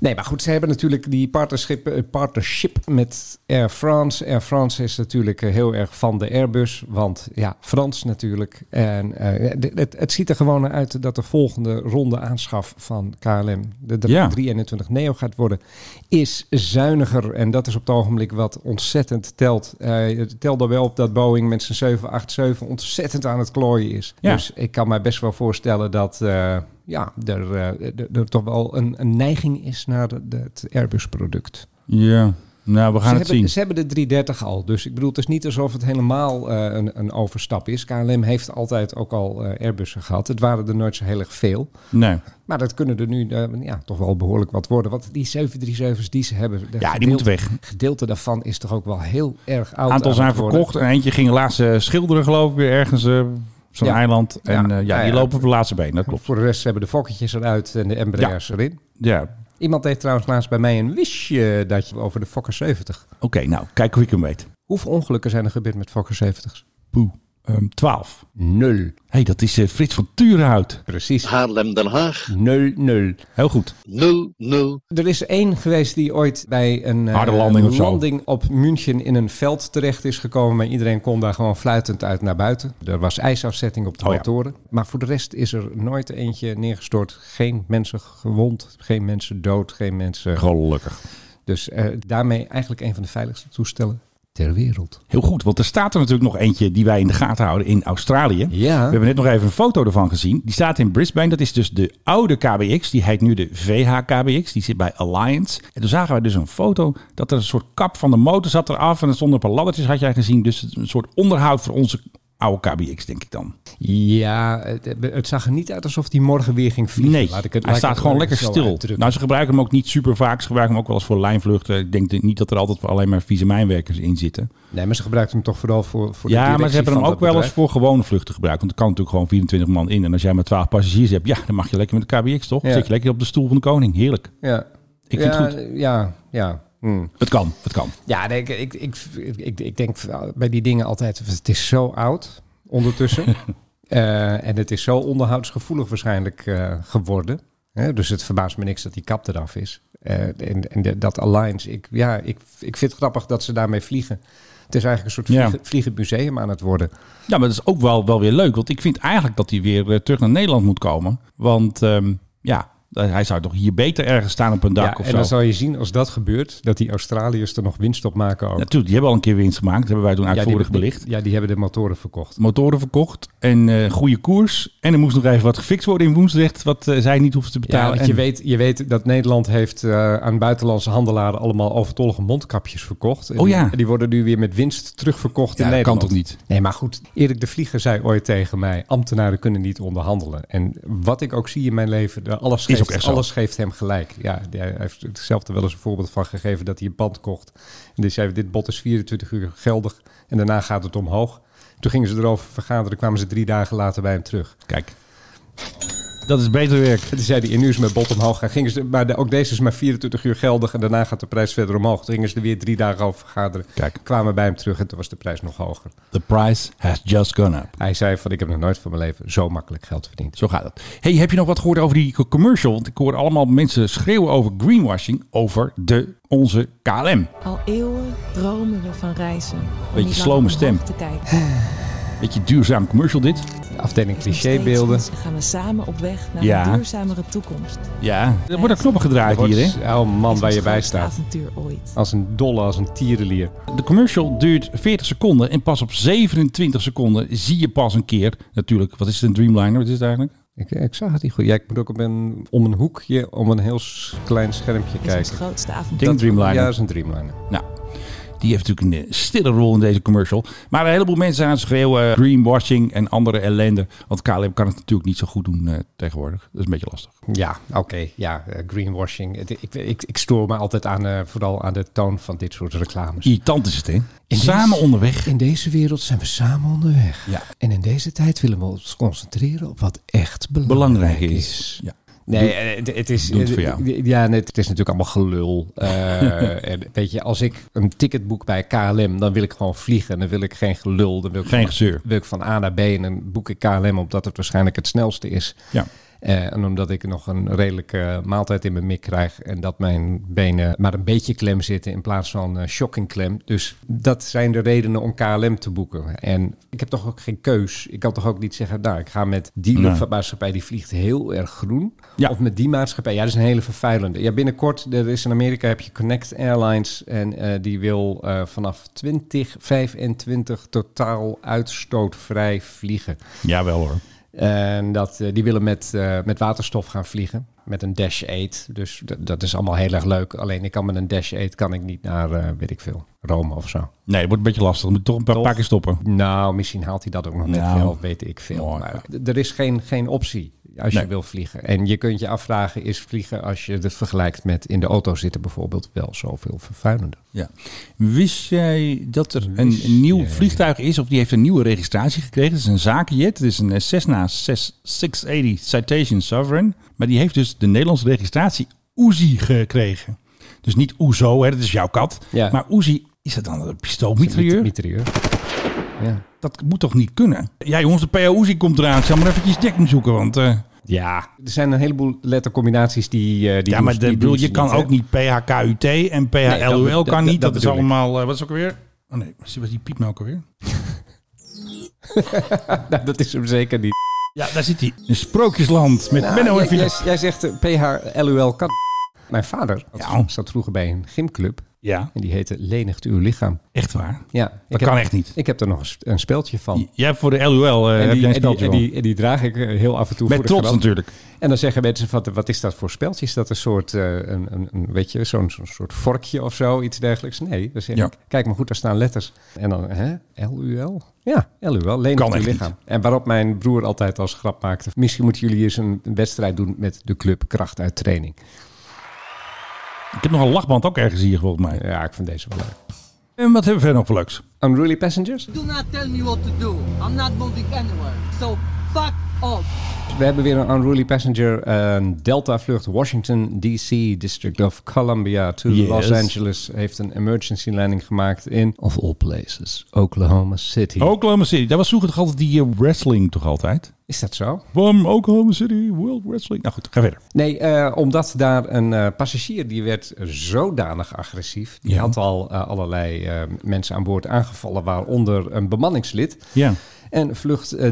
Speaker 7: Nee, maar goed, ze hebben natuurlijk die partnership, eh, partnership met Air France. Air France is natuurlijk eh, heel erg van de Airbus, want ja, Frans natuurlijk. En eh, d- het, het ziet er gewoon naar uit dat de volgende ronde aanschaf van KLM, de drie-
Speaker 6: Ja.
Speaker 7: 321 Neo gaat worden, is zuiniger. En dat is op het ogenblik wat ontzettend telt. Eh het telt er wel op dat Boeing met zijn 787 ontzettend aan het klooien is.
Speaker 6: Ja.
Speaker 7: Dus ik kan mij best wel voorstellen dat eh, ja, er, eh, er- er toch wel een, een neiging is naar de- de- het Airbus-product.
Speaker 6: Ja, nou, we
Speaker 7: Ze
Speaker 6: gaan het
Speaker 7: hebben,
Speaker 6: zien.
Speaker 7: ze hebben de 330 al, dus ik bedoel, het is niet alsof het helemaal eh, een, een overstap is. KLM heeft altijd ook al eh, Airbussen gehad. Het waren er nooit zo heel erg veel.
Speaker 6: Nee.
Speaker 7: Maar dat kunnen er nu eh, ja, toch wel behoorlijk wat worden. Want die 737's die ze hebben, de
Speaker 6: Ja, die moeten weg.
Speaker 7: gedeelte daarvan is toch ook wel heel erg oud.
Speaker 6: Aantal
Speaker 7: aan
Speaker 6: zijn
Speaker 7: het worden.
Speaker 6: verkocht. En eentje ging laatst eh, schilderen, geloof ik, weer ergens. eh, op Zo'n
Speaker 7: Ja.
Speaker 6: eiland. En
Speaker 7: Ja.
Speaker 6: eh, ja,
Speaker 7: Ja,
Speaker 6: die
Speaker 7: ja.
Speaker 6: lopen op de laatste been. Dat klopt.
Speaker 7: Voor de rest hebben de fokketjes eruit en de Embraers erin.
Speaker 6: Ja,
Speaker 7: Iemand heeft trouwens laatst bij mij een wisje dat je over de Fokker 70.
Speaker 6: oké. nou, kijk hoe ik hem weet.
Speaker 7: Hoeveel ongelukken zijn er gebeurd met Fokker 70's?
Speaker 6: Poeh. Ehm 12.
Speaker 7: Nul.
Speaker 6: Hé, hey, dat is eh, Frits van Turenhout.
Speaker 7: Precies.
Speaker 10: Haarlem, Den Haag.
Speaker 7: Nul, nul.
Speaker 6: Heel goed.
Speaker 10: 0-0.
Speaker 7: Er is één geweest die ooit bij een eh,
Speaker 6: Harde landing of zo.
Speaker 7: landing op München in een veld terecht is gekomen. Maar iedereen kon daar gewoon fluitend uit naar buiten. Er was ijsafzetting op de
Speaker 6: Oh ja.
Speaker 7: motoren. Maar voor de rest is er nooit eentje neergestort. Geen mensen gewond, geen mensen dood, geen mensen...
Speaker 6: Gelukkig.
Speaker 7: Dus eh, daarmee eigenlijk een van de veiligste toestellen ter wereld.
Speaker 6: Heel goed, want er staat er natuurlijk nog eentje die wij in de gaten houden in Australië.
Speaker 7: Ja.
Speaker 6: We hebben net nog even een foto ervan gezien. Die staat in Brisbane. Dat is dus de oude KBX. Die heet nu de VH-KBX. Die zit bij Alliance. En toen zagen wij dus een foto dat er een soort kap van de motor zat eraf. En er stonden een paar laddertjes, had jij gezien. Dus een soort onderhoud voor onze oude KBX, denk ik dan.
Speaker 7: Ja, het, het zag er niet uit alsof die morgen weer ging vliegen.
Speaker 6: Nee,
Speaker 7: Laat ik
Speaker 6: hij
Speaker 7: laat ik
Speaker 6: staat gewoon lekker
Speaker 7: zo
Speaker 6: stil.
Speaker 7: uitdrukken.
Speaker 6: Nou, ze gebruiken hem ook niet super vaak. Ze gebruiken hem ook wel eens voor lijnvluchten. Ik denk niet dat er altijd alleen maar vieze mijnwerkers in zitten.
Speaker 7: Nee, maar ze gebruikt hem toch vooral voor, voor de
Speaker 6: Ja, maar ze
Speaker 7: directie
Speaker 6: hebben hem
Speaker 7: van
Speaker 6: ook
Speaker 7: dat
Speaker 6: wel eens
Speaker 7: bedrijf.
Speaker 6: voor gewone vluchten gebruikt. Want er kan natuurlijk gewoon 24 man in. En als jij maar 12 passagiers hebt, ja, dan mag je lekker met de KBX, toch?
Speaker 7: Ja.
Speaker 6: Zit je lekker op de stoel van de koning. Heerlijk.
Speaker 7: Ja.
Speaker 6: Ik
Speaker 7: ja,
Speaker 6: vind het goed.
Speaker 7: Ja, ja. Hm.
Speaker 6: Het kan, het kan.
Speaker 7: Ja, nee, ik, ik, ik, ik, ik denk bij die dingen altijd, het is zo oud ondertussen. Eh, en het is zo onderhoudsgevoelig waarschijnlijk eh, geworden. Hè, dus het verbaast me niks dat die kap eraf is. Eh, en en de- dat Alliance, ik, ja, ik, ik vind het grappig dat ze daarmee vliegen. Het is eigenlijk een soort
Speaker 6: Ja.
Speaker 7: vliegen, vliegend museum aan het worden.
Speaker 6: Ja, maar dat is ook wel, wel weer leuk. Want ik vind eigenlijk dat hij weer eh, terug naar Nederland moet komen. Want ehm, ja, hij zou toch hier beter ergens staan op een dak
Speaker 7: ja,
Speaker 6: of
Speaker 7: en
Speaker 6: zo.
Speaker 7: dan zal je zien als dat gebeurt, dat die Australiërs er nog winst op maken ook.
Speaker 6: Natuurlijk, die hebben al een keer winst gemaakt. Dat hebben wij toen
Speaker 7: die
Speaker 6: uitvoerig
Speaker 7: hebben- die-
Speaker 6: belicht.
Speaker 7: Ja, die hebben de motoren verkocht.
Speaker 6: Motoren verkocht en eh, goede koers. En er moest nog even wat gefixt worden in Woensdrecht. Wat eh, zij niet hoefde te
Speaker 7: Ja,
Speaker 6: betalen.
Speaker 7: want je
Speaker 6: En-
Speaker 7: weet, je weet dat Nederland heeft eh, aan buitenlandse handelaren allemaal overtollige mondkapjes verkocht. En
Speaker 6: Oh ja.
Speaker 7: Die, en die worden nu weer met winst terugverkocht
Speaker 6: Ja,
Speaker 7: in
Speaker 6: dat kan
Speaker 7: Nederland.
Speaker 6: toch niet?
Speaker 7: Nee, maar goed. Erik de Vlieger zei ooit tegen mij, ambtenaren kunnen niet onderhandelen. En wat ik ook zie in mijn leven, eh, alles
Speaker 6: ook
Speaker 7: geeft,
Speaker 6: echt zo.
Speaker 7: alles geeft hem gelijk. Ja, hij heeft er zelf er wel eens een voorbeeld van gegeven dat hij een pand kocht. En die zei, dit bod is 24 uur geldig en daarna gaat het omhoog. Toen gingen ze erover vergaderen, kwamen ze drie dagen later bij hem terug.
Speaker 6: Kijk, dat is beter werk.
Speaker 7: En toen zei hij, en nu is mijn bot omhoog. En gingen ze, maar de- ook deze is maar 24 uur geldig en daarna gaat de prijs verder omhoog. Toen gingen ze er weer drie dagen over vergaderen.
Speaker 6: Kijk.
Speaker 7: Kwamen bij hem terug en toen was de prijs nog hoger.
Speaker 6: The price has just gone up.
Speaker 7: Hij zei van, ik heb nog nooit van mijn leven zo makkelijk geld verdiend.
Speaker 6: Zo gaat het. Hey, heb je nog wat gehoord over die co- commercial? Want ik hoor allemaal mensen schreeuwen over greenwashing, over de, onze KLM.
Speaker 3: Al eeuwen dromen we van reizen. om
Speaker 6: Beetje
Speaker 3: niet
Speaker 6: slome
Speaker 3: langer
Speaker 6: stem.
Speaker 3: omhoog Te kijken.
Speaker 6: Beetje duurzaam commercial dit.
Speaker 7: Afdeling clichébeelden.
Speaker 11: Steeds Gaan we samen op weg naar
Speaker 6: Ja.
Speaker 11: een duurzamere toekomst.
Speaker 6: Ja, er worden knoppen gedraaid
Speaker 7: Wordt-
Speaker 6: hier, hè?
Speaker 7: Oh man,
Speaker 11: Is
Speaker 7: waar
Speaker 11: ons
Speaker 7: je bij
Speaker 11: grootste
Speaker 7: staat.
Speaker 11: avontuur ooit.
Speaker 7: Als een dolle, als een tierenlier.
Speaker 6: De commercial duurt 40 seconden en pas op 27 seconden zie je pas een keer natuurlijk. Wat is het een Dreamliner? Wat is het eigenlijk?
Speaker 7: Ik, ik zag het niet goed. Ja, ik moet ook op een, om een hoekje, om een heel s- klein schermpje
Speaker 11: Is ons
Speaker 7: kijken.
Speaker 11: grootste
Speaker 6: Ding
Speaker 11: avontuur.
Speaker 7: Dat-
Speaker 6: Dreamliner.
Speaker 7: Ja, dat is een Dreamliner.
Speaker 6: Nou, die heeft natuurlijk een eh, stille rol in deze commercial. Maar een heleboel mensen zijn aan het schreeuwen eh, greenwashing en andere ellende. Want KLM kan het natuurlijk niet zo goed doen eh, tegenwoordig. Dat is een beetje lastig.
Speaker 7: Ja, oké. Ja, eh, greenwashing. Het- Ik, ik, ik stoor me altijd aan, eh, vooral aan de toon van dit soort reclames.
Speaker 6: Irritant is het, hè?
Speaker 7: In
Speaker 6: Samen
Speaker 7: deze-
Speaker 6: onderweg.
Speaker 7: In deze wereld zijn we samen onderweg.
Speaker 6: Ja.
Speaker 7: En in deze tijd willen we ons concentreren op wat echt belangrijk,
Speaker 6: Belangrijk
Speaker 7: is.
Speaker 6: is. Ja.
Speaker 7: Nee, eh, het, het is.
Speaker 6: doe het voor jou.
Speaker 7: Ja, nee, het is natuurlijk allemaal gelul. Eh, en weet je, als ik een ticket boek bij KLM, dan wil ik gewoon vliegen. Dan wil ik geen gelul. Dan wil ik
Speaker 6: Geen gezeur.
Speaker 7: wil ik van A naar B en dan boek ik KLM omdat het waarschijnlijk het snelste is.
Speaker 6: Ja.
Speaker 7: Eh, en omdat ik nog een redelijke maaltijd in mijn mik krijg en dat mijn benen maar een beetje klem zitten in plaats van eh, shocking klem. Dus dat zijn de redenen om KLM te boeken. En ik heb toch ook geen keus. Ik kan toch ook niet zeggen, nou, ik ga met die
Speaker 6: Nee.
Speaker 7: luchtvaartmaatschappij die vliegt heel erg groen.
Speaker 6: Ja.
Speaker 7: Of met die maatschappij. Ja, dat is een hele vervuilende. Ja, binnenkort, er is in Amerika heb je Connect Airlines en eh, die wil eh, vanaf 2025 totaal uitstootvrij vliegen.
Speaker 6: Jawel hoor.
Speaker 7: En dat, eh, die willen met, eh, met waterstof gaan vliegen. Met een Dash 8. Dus d- dat is allemaal heel erg leuk. Alleen ik kan met een Dash 8 kan ik niet naar, eh, weet ik veel, Rome of zo.
Speaker 6: Nee, het wordt een beetje lastig. We moeten toch een paar
Speaker 7: Toch?
Speaker 6: pakken stoppen.
Speaker 7: Nou, misschien haalt hij dat ook nog net
Speaker 6: Nou.
Speaker 7: wel, weet ik veel.
Speaker 6: Mooi.
Speaker 7: Maar d- er is geen, geen optie als je
Speaker 6: Nee.
Speaker 7: wil vliegen. En je kunt je afvragen, is vliegen als je het vergelijkt met in de auto zitten bijvoorbeeld wel zoveel vervuilender?
Speaker 6: Ja. Wist jij dat er een
Speaker 7: Wist
Speaker 6: nieuw
Speaker 7: jij?
Speaker 6: vliegtuig is, of die heeft een nieuwe registratie gekregen? Het is een zakenjet, het is een eh, Cessna 6, 680 Citation Sovereign. Maar die heeft dus de Nederlandse registratie Uzi gekregen. Dus niet Oezo, hè, dat is jouw kat.
Speaker 7: Ja.
Speaker 6: Maar Uzi, is dat dan een pistoolmitrailleur?
Speaker 7: Mitrailleur. Ja.
Speaker 6: Dat moet toch niet kunnen? Ja jongens, de PO Uzi komt eraan. Ik zal maar eventjes dekking zoeken, want... eh,
Speaker 7: ja, er zijn een heleboel lettercombinaties die... eh, die
Speaker 6: ja,
Speaker 7: doen-
Speaker 6: maar
Speaker 7: die
Speaker 6: de,
Speaker 7: doen
Speaker 6: bedoel,
Speaker 7: ze
Speaker 6: je kan
Speaker 7: hè?
Speaker 6: ook niet PHKUT en PHLUL
Speaker 7: Nee, dat-
Speaker 6: kan
Speaker 7: dat-
Speaker 6: niet. Dat,
Speaker 7: dat
Speaker 6: is
Speaker 7: bedoel ik.
Speaker 6: allemaal... eh, wat is ook alweer? Oh nee, wat is die piep nou ook alweer?
Speaker 7: Nou, dat is hem zeker niet.
Speaker 6: Ja, daar zit hij. Een sprookjesland met
Speaker 7: Nou,
Speaker 6: Menno en
Speaker 7: jij, jij,
Speaker 6: Philip.
Speaker 7: jij zegt PHLUL kan. Mijn vader
Speaker 6: Ja.
Speaker 7: zat vroeger bij een gymclub
Speaker 6: Ja,
Speaker 7: en die heette Lenigt uw lichaam.
Speaker 6: echt waar.
Speaker 7: Ja,
Speaker 6: Dat
Speaker 7: ik heb-
Speaker 6: kan echt niet.
Speaker 7: Ik heb er nog een, sp- een speeltje van.
Speaker 6: Jij hebt voor de LUL eh
Speaker 7: en,
Speaker 6: heb
Speaker 7: die,
Speaker 6: jij een
Speaker 7: en, die,
Speaker 6: speltje
Speaker 7: en,
Speaker 6: van.
Speaker 7: die, en die draag ik eh, heel af en toe voor
Speaker 6: Met
Speaker 7: de
Speaker 6: trots
Speaker 7: grap.
Speaker 6: natuurlijk.
Speaker 7: En dan zeggen mensen van, wat is dat voor speltje? Is dat een soort, eh, een, een, een- weet je, zo'n zo'n soort vorkje of zo, iets dergelijks? Nee, dan zeg
Speaker 6: Ja.
Speaker 7: ik, kijk maar goed, daar staan letters. En dan, hè, LUL? Ja, LUL, leen
Speaker 6: Kan
Speaker 7: op uw
Speaker 6: echt
Speaker 7: lichaam. En waarop mijn broer altijd als grap maakte, misschien moeten jullie eens een wedstrijd doen met de club Kracht uit Training.
Speaker 6: Ik heb nog een lachband ook ergens hier volgens mij.
Speaker 7: Ja, ik vind deze wel leuk.
Speaker 6: En wat hebben we verder nog voor leuks?
Speaker 7: Unruly Passengers?
Speaker 12: Do not tell me what to do. I'm not moving anywhere. So fuck off.
Speaker 7: We hebben weer een Unruly Passenger, een Delta-vlucht Washington DC, District of Columbia to
Speaker 6: Yes.
Speaker 7: Los Angeles, heeft een emergency landing gemaakt in, of all places, Oklahoma City.
Speaker 6: Oklahoma City. Daar was vroeger toch altijd die eh, wrestling toch altijd?
Speaker 7: Is dat zo?
Speaker 6: Bam, Oklahoma City, World Wrestling. Nou goed, ga verder.
Speaker 7: Nee, eh, omdat daar een eh, passagier, die werd zodanig agressief, die
Speaker 6: Ja.
Speaker 7: had al eh, allerlei eh, mensen aan boord aangevallen, waaronder een bemanningslid.
Speaker 6: Ja.
Speaker 7: En vlucht eh,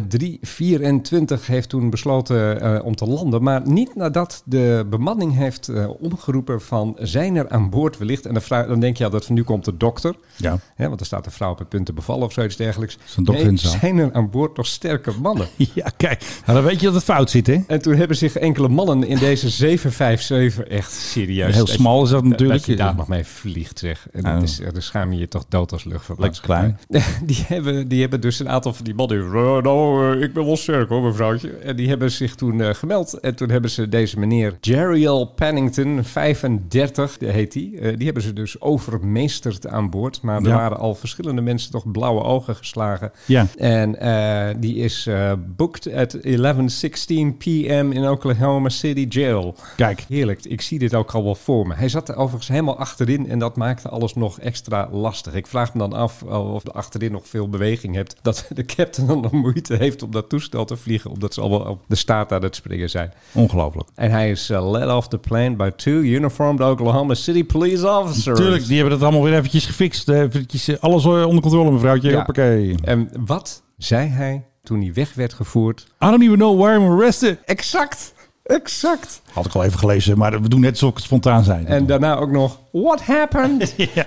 Speaker 7: 324 heeft toen besloten eh, om te landen. Maar niet nadat de bemanning heeft eh, omgeroepen van zijn er aan boord wellicht. En dan, vra- dan denk je altijd van nu komt de dokter.
Speaker 6: Ja.
Speaker 7: Hè, want er staat een vrouw op het punt te bevallen of zoiets dergelijks.
Speaker 6: Is een dokter
Speaker 7: nee,
Speaker 6: in de zaal?
Speaker 7: zijn er aan boord nog sterke mannen?
Speaker 6: Ja, kijk. Nou, dan weet je dat het fout zit, hè?
Speaker 7: En toen hebben zich enkele mannen in deze 757 echt serieus...
Speaker 6: Heel
Speaker 7: dat-
Speaker 6: smal is dat natuurlijk.
Speaker 7: Dat je daar nog mee vliegt, zeg. En dat
Speaker 6: Oh.
Speaker 7: is, dan schaam je je toch dood als luchtvaart.
Speaker 6: Lekker klein.
Speaker 7: Die hebben, die hebben dus een aantal van die mannen... eh, nou, eh, ik ben wel sterk hoor, mevrouwtje. En die hebben zich toen eh, gemeld. En toen hebben ze deze meneer Jeriel Pennington, 35 heet die. eh, die hebben ze dus overmeesterd aan boord. Maar er
Speaker 6: Ja.
Speaker 7: waren al verschillende mensen toch blauwe ogen geslagen.
Speaker 6: Ja.
Speaker 7: En eh, die is eh booked at 11.16 p.m. in Oklahoma City Jail.
Speaker 6: Kijk.
Speaker 7: Heerlijk, ik zie dit ook al wel voor me. Hij zat er overigens helemaal achterin en dat maakte alles nog extra lastig. Ik vraag me dan af eh, of er achterin nog veel beweging hebt. Dat de captain dan nog moeite heeft om dat toestel te vliegen, omdat ze allemaal op de staart aan het springen zijn.
Speaker 6: Ongelooflijk.
Speaker 7: En hij is eh, led off the plane by two uniformed Oklahoma City police officers.
Speaker 6: Tuurlijk, die hebben dat allemaal weer eventjes gefixt. Eh, Eventjes eh, alles eh, onder controle, mevrouwtje.
Speaker 7: Ja.
Speaker 6: Hoppakee.
Speaker 7: En wat zei hij toen hij weg werd gevoerd.
Speaker 6: I don't even know why I'm arrested.
Speaker 7: Exact. Exact.
Speaker 6: Had ik al even gelezen, maar we doen net alsof het spontaan zijn.
Speaker 7: En daarna ook nog, what happened? ja.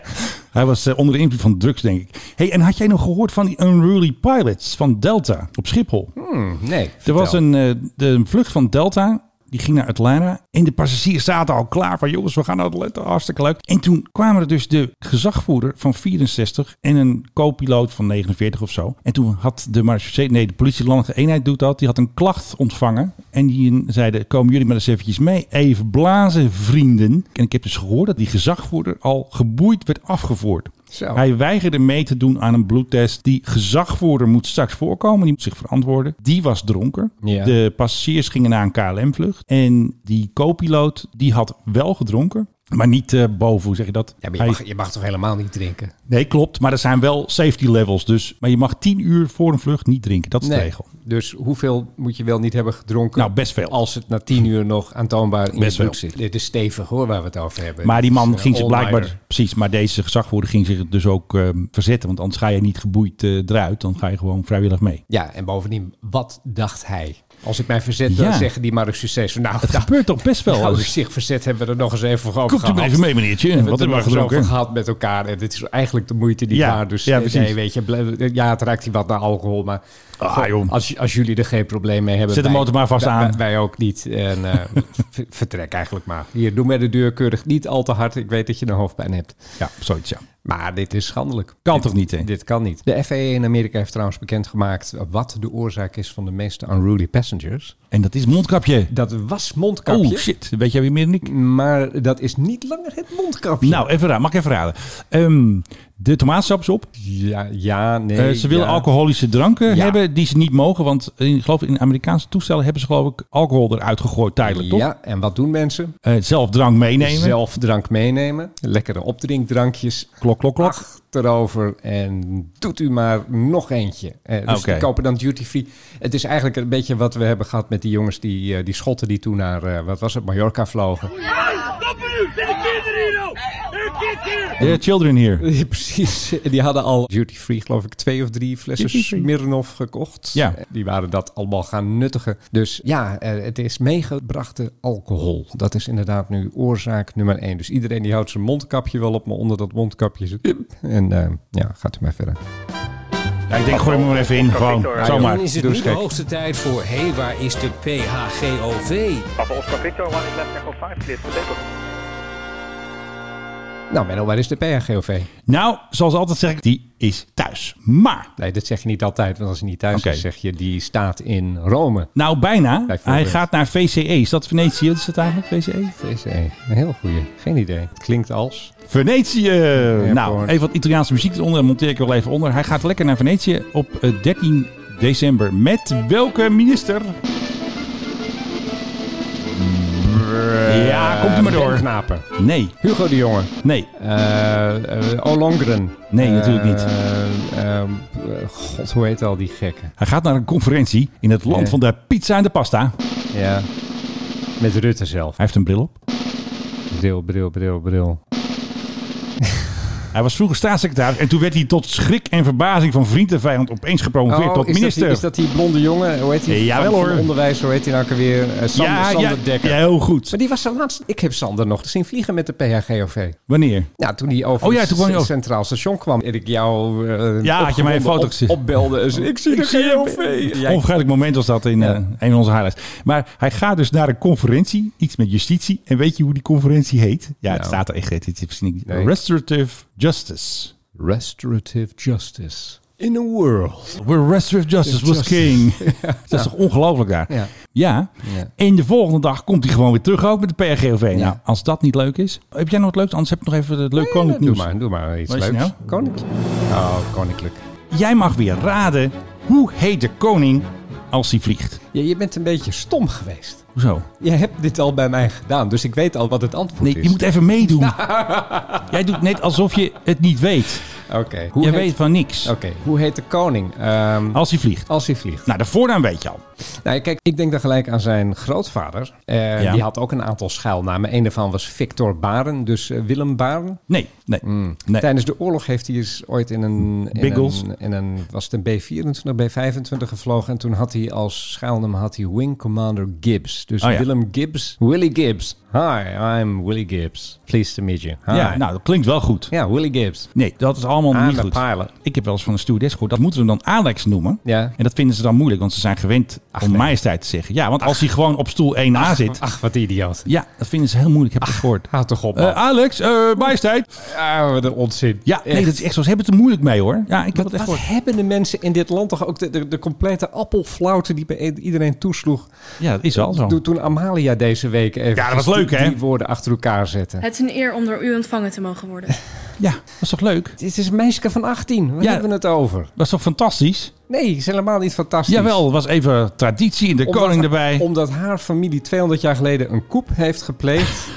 Speaker 6: Hij was uh, onder de invloed van drugs, denk ik. Hey, en had jij nog gehoord van die unruly pilots van Delta op Schiphol?
Speaker 7: Hmm, nee.
Speaker 6: Er was een, uh, de, een vlucht van Delta die ging naar Atlanta. En de passagiers zaten al klaar van... jongens, we gaan naar Atlanta, hartstikke leuk. En toen kwamen er dus de gezagvoerder van 64... en een co-piloot van 49 of zo. En toen had de marechaussee... nee, de politielandelijke eenheid doet dat. Die had een klacht ontvangen. En die zeiden, komen jullie maar eens eventjes mee. Even blazen, vrienden. En ik heb dus gehoord dat die gezagvoerder... al geboeid werd afgevoerd. Zo. Hij weigerde mee te doen aan een bloedtest. Die gezagvoerder moet straks voorkomen. Die moet zich verantwoorden. Die was dronken. Ja. De passagiers gingen naar een KLM-vlucht. En die co-piloot, die had wel gedronken. Maar niet uh, boven, hoe zeg je dat?
Speaker 7: Ja, je, Hij... mag, je, mag, toch helemaal niet drinken?
Speaker 6: Nee, klopt. Maar er zijn wel safety levels. Dus. Maar je mag tien uur voor een vlucht niet drinken. Dat is nee. de regel.
Speaker 7: Dus hoeveel moet je wel niet hebben gedronken?
Speaker 6: Nou, best veel.
Speaker 7: Als het na tien uur nog aantoonbaar in best je bloed zit. Dit is stevig hoor, waar we het over hebben. eh,
Speaker 6: Maar die man dus, uh, ging zich blijkbaar... Precies, maar deze gezagvoerder ging zich dus ook uh, verzetten. Want anders ga je niet geboeid eh, eruit. Dan ga je gewoon vrijwillig mee.
Speaker 7: Ja, en bovendien, wat dacht hij? Als ik mij verzet, dan ja. zeggen die maar een succes. nou,
Speaker 6: Nou, het gebeurt toch best wel.
Speaker 7: Als ik zich verzet, hebben we er nog eens even over
Speaker 6: Komt
Speaker 7: gehad.
Speaker 6: Komt u even mee, meneertje.
Speaker 7: En we
Speaker 6: Wat hebben
Speaker 7: we er over gehad met elkaar. En dit is eigenlijk de moeite die ja. Waar. Dus ja, nee, weet je, eh, ja, het raakt hij wat naar alcohol. Maar ah, joh. als, als jullie er geen probleem mee hebben...
Speaker 6: Zet hem motor maar vast aan.
Speaker 7: Wij, ook niet. En uh, vertrek eigenlijk maar. Hier, doe mij de deur keurig niet al te hard. Ik weet dat je een hoofdpijn hebt.
Speaker 6: Ja, zoiets ja.
Speaker 7: Maar dit is schandelijk.
Speaker 6: Kan
Speaker 7: dit,
Speaker 6: toch niet, hè?
Speaker 7: Dit kan niet. De FAA in Amerika heeft trouwens bekendgemaakt wat de oorzaak is van de meeste unruly passengers.
Speaker 6: En dat is mondkapje.
Speaker 7: Dat was mondkapje.
Speaker 6: Oh shit, weet jij weer meer dan ik.
Speaker 7: Maar dat is niet langer het mondkapje.
Speaker 6: Nou, even raden. Mag ik even raden? Um, de tomaatsap is op.
Speaker 7: Ja, ja nee.
Speaker 6: Uh, ze willen
Speaker 7: ja.
Speaker 6: alcoholische dranken ja. hebben die ze niet mogen. Want in, geloof in Amerikaanse toestellen hebben ze geloof ik alcohol eruit gegooid tijdelijk, toch?
Speaker 7: Ja, en wat doen mensen?
Speaker 6: Uh, zelf drank meenemen.
Speaker 7: Zelf drank meenemen. Lekkere opdrinkdrankjes.
Speaker 6: Klok, klok, klok. Ach
Speaker 7: erover en doet u maar nog eentje. Eh, dus okay. die kopen dan duty free. Het is eigenlijk een beetje wat we hebben gehad met die jongens die, uh, die schotten die toen naar, uh, wat was het, Mallorca vlogen.
Speaker 4: Ja, stoppen nu! Zijn de kinderen hier nou? Zijn kids hier?
Speaker 6: There are children here.
Speaker 7: Precies. Die hadden al duty free, geloof ik, twee of drie flessen Smirnoff gekocht. Eh,
Speaker 6: Ja.
Speaker 7: Die waren dat allemaal gaan nuttigen. Dus ja, uh, het is meegebrachte alcohol. Dat is inderdaad nu oorzaak nummer één. Dus iedereen die houdt zijn mondkapje wel op, maar onder dat mondkapje zit... En uh, ja, gaat u maar verder.
Speaker 6: Ja, ik denk, gooi hem maar even in. Gewoon, zomaar.
Speaker 8: Dan is het nu de hoogste tijd voor... Hé, hey, waar is de PHGOV?
Speaker 4: Papa Oscar Victor, one is left echo 5, clear to deco.
Speaker 7: Nou, Menno, waar is de PHGOV?
Speaker 6: Nou, zoals altijd zeg ik, die is thuis. Maar...
Speaker 7: Nee, dat zeg je niet altijd, want als hij niet thuis okay. is, zeg je die staat in Rome.
Speaker 6: Nou, bijna. Hij gaat naar VCE. Is dat Venetië? Wat is dat eigenlijk, E? VCE?
Speaker 7: VCE. Een heel goede. Geen idee. Het klinkt als...
Speaker 6: Venetië! Ja, nou, even wat Italiaanse muziek eronder. monteer ik wel even onder. Hij gaat lekker naar Venetië op 13 december. Met welke minister? Ja, komt u maar door.
Speaker 7: Knapen.
Speaker 6: Nee.
Speaker 7: Eh, Hugo de Jonge.
Speaker 6: Nee.
Speaker 7: Uh, uh, Olongren.
Speaker 6: Nee, natuurlijk niet.
Speaker 7: Uh, God, hoe heet al die gekken?
Speaker 6: Hij gaat naar een conferentie in het land van de pizza en de pasta.
Speaker 7: Ja. Met Rutte zelf.
Speaker 6: Hij heeft een bril op.
Speaker 7: Bril, bril, bril, bril.
Speaker 6: Hij was vroeger staatssecretaris en toen werd hij tot schrik en verbazing van vriend en vijand opeens gepromoveerd oh, tot
Speaker 7: is
Speaker 6: minister.
Speaker 7: Dat die, is dat die blonde jongen? Hoe heet hij?
Speaker 6: Ja, wel hoor.
Speaker 7: Onderwijs, hoe heet hij nou weer? Uh, Sander,
Speaker 6: ja,
Speaker 7: Sander
Speaker 6: ja,
Speaker 7: Dekker.
Speaker 6: Ja, heel goed.
Speaker 7: Maar die was de laatste. Ik heb Sander nog zien vliegen met de PHGOV.
Speaker 6: Wanneer?
Speaker 7: Ja, toen hij over oh, ja, toen het Centraal Station kwam. En ik jou uh,
Speaker 6: ja, had je mij een foto gezien.
Speaker 7: Op, opbelde. Dus ik zie ik de GOV.
Speaker 6: Onvergetelijk moment was dat in uh, een van onze highlights. Maar hij gaat dus naar een conferentie, iets met justitie. En weet je hoe die conferentie heet? Ja, het staat er echt. Het is niet. Restorative justice.
Speaker 7: Restorative justice. In a world.
Speaker 6: Where restorative justice was justice. king. ja. Dat is toch ongelooflijk daar?
Speaker 7: Ja.
Speaker 6: Ja. ja. En de volgende dag komt hij gewoon weer terug ook met de PRGOV. Nou, als dat niet leuk is. Heb jij nog wat leuks? Anders heb ik nog even het leuk koninklijk nieuws.
Speaker 7: Doe maar, doe maar iets leuks. Nou? Koninklijk. Oh, koninklijk.
Speaker 6: Jij mag weer raden hoe heet de koning als hij vliegt.
Speaker 7: Ja, je bent een beetje stom geweest.
Speaker 6: Hoezo?
Speaker 7: Je hebt dit al bij mij gedaan, dus ik weet al wat het antwoord
Speaker 6: nee,
Speaker 7: is.
Speaker 6: Je moet even meedoen. Jij doet net alsof je het niet weet.
Speaker 7: Oké. Okay.
Speaker 6: Je weet Oh. van niks.
Speaker 7: Oké. Hoe heet de koning? Ehm,
Speaker 6: Als hij vliegt.
Speaker 7: als hij vliegt.
Speaker 6: Nou, de voornaam weet je al.
Speaker 7: Nou, kijk, ik denk dan gelijk aan zijn grootvader. Eh,
Speaker 6: Ja.
Speaker 7: Die had ook een aantal schuilnamen. Een daarvan was Victor Baren, dus eh, Willem Baren.
Speaker 6: Nee, nee.
Speaker 7: Mm.
Speaker 6: nee.
Speaker 7: Hmm. Tijdens de oorlog heeft hij eens ooit in een, in
Speaker 6: Biggles.
Speaker 7: een, in een was het een B-24, B-25 gevlogen. En toen had hij als schuilnaam had hij Wing Commander Gibbs. Dus
Speaker 6: Oh ja.
Speaker 7: Willem Gibbs, Willy Gibbs. Hi, I'm Willy Gibbs. Pleased to meet you. Hi.
Speaker 6: Ja, nou, dat klinkt wel goed.
Speaker 7: Ja, Willy Gibbs.
Speaker 6: Nee, dat is allemaal
Speaker 7: I'm
Speaker 6: niet
Speaker 7: a
Speaker 6: goed.
Speaker 7: pilot.
Speaker 6: Ik heb wel eens van een stewardess gehoord. Dat moeten we hem dan Alex noemen.
Speaker 7: Ja.
Speaker 6: En dat vinden ze dan moeilijk, want ze zijn gewend om majesteit te zeggen. Ja, want als hij gewoon op stoel 1A zit.
Speaker 7: Ach, wat idioot.
Speaker 6: Ja, dat vinden ze heel moeilijk. Ik heb het gehoord.
Speaker 7: Houd toch op, man.
Speaker 6: Eh, Alex, eh majesteit.
Speaker 7: ah, wat een onzin.
Speaker 6: Ja,
Speaker 7: Echt.
Speaker 6: nee, dat is echt zo. Ze hebben het er moeilijk mee hoor. Ja, ik heb
Speaker 7: Wat,
Speaker 6: het echt
Speaker 7: wat
Speaker 6: gehoord.
Speaker 7: hebben de mensen in dit land toch ook de, de, de complete appelflauwte die bij iedereen toesloeg
Speaker 6: Ja, dat is wel zo.
Speaker 7: toen, toen Amalia deze week even
Speaker 6: Ja, dat was leuk,
Speaker 7: die,
Speaker 6: hè?
Speaker 7: die woorden achter elkaar zette.
Speaker 5: Het is een eer om door u ontvangen te mogen worden.
Speaker 6: Ja, dat is toch leuk?
Speaker 7: Het is een meisje van 18. Waar
Speaker 6: Ja.
Speaker 7: hebben we het over?
Speaker 6: Dat is toch fantastisch?
Speaker 7: Nee, het is helemaal niet fantastisch.
Speaker 6: Jawel, er was even traditie en de
Speaker 7: Omdat-
Speaker 6: koning erbij.
Speaker 7: Omdat haar familie 200 jaar geleden een koep heeft gepleegd.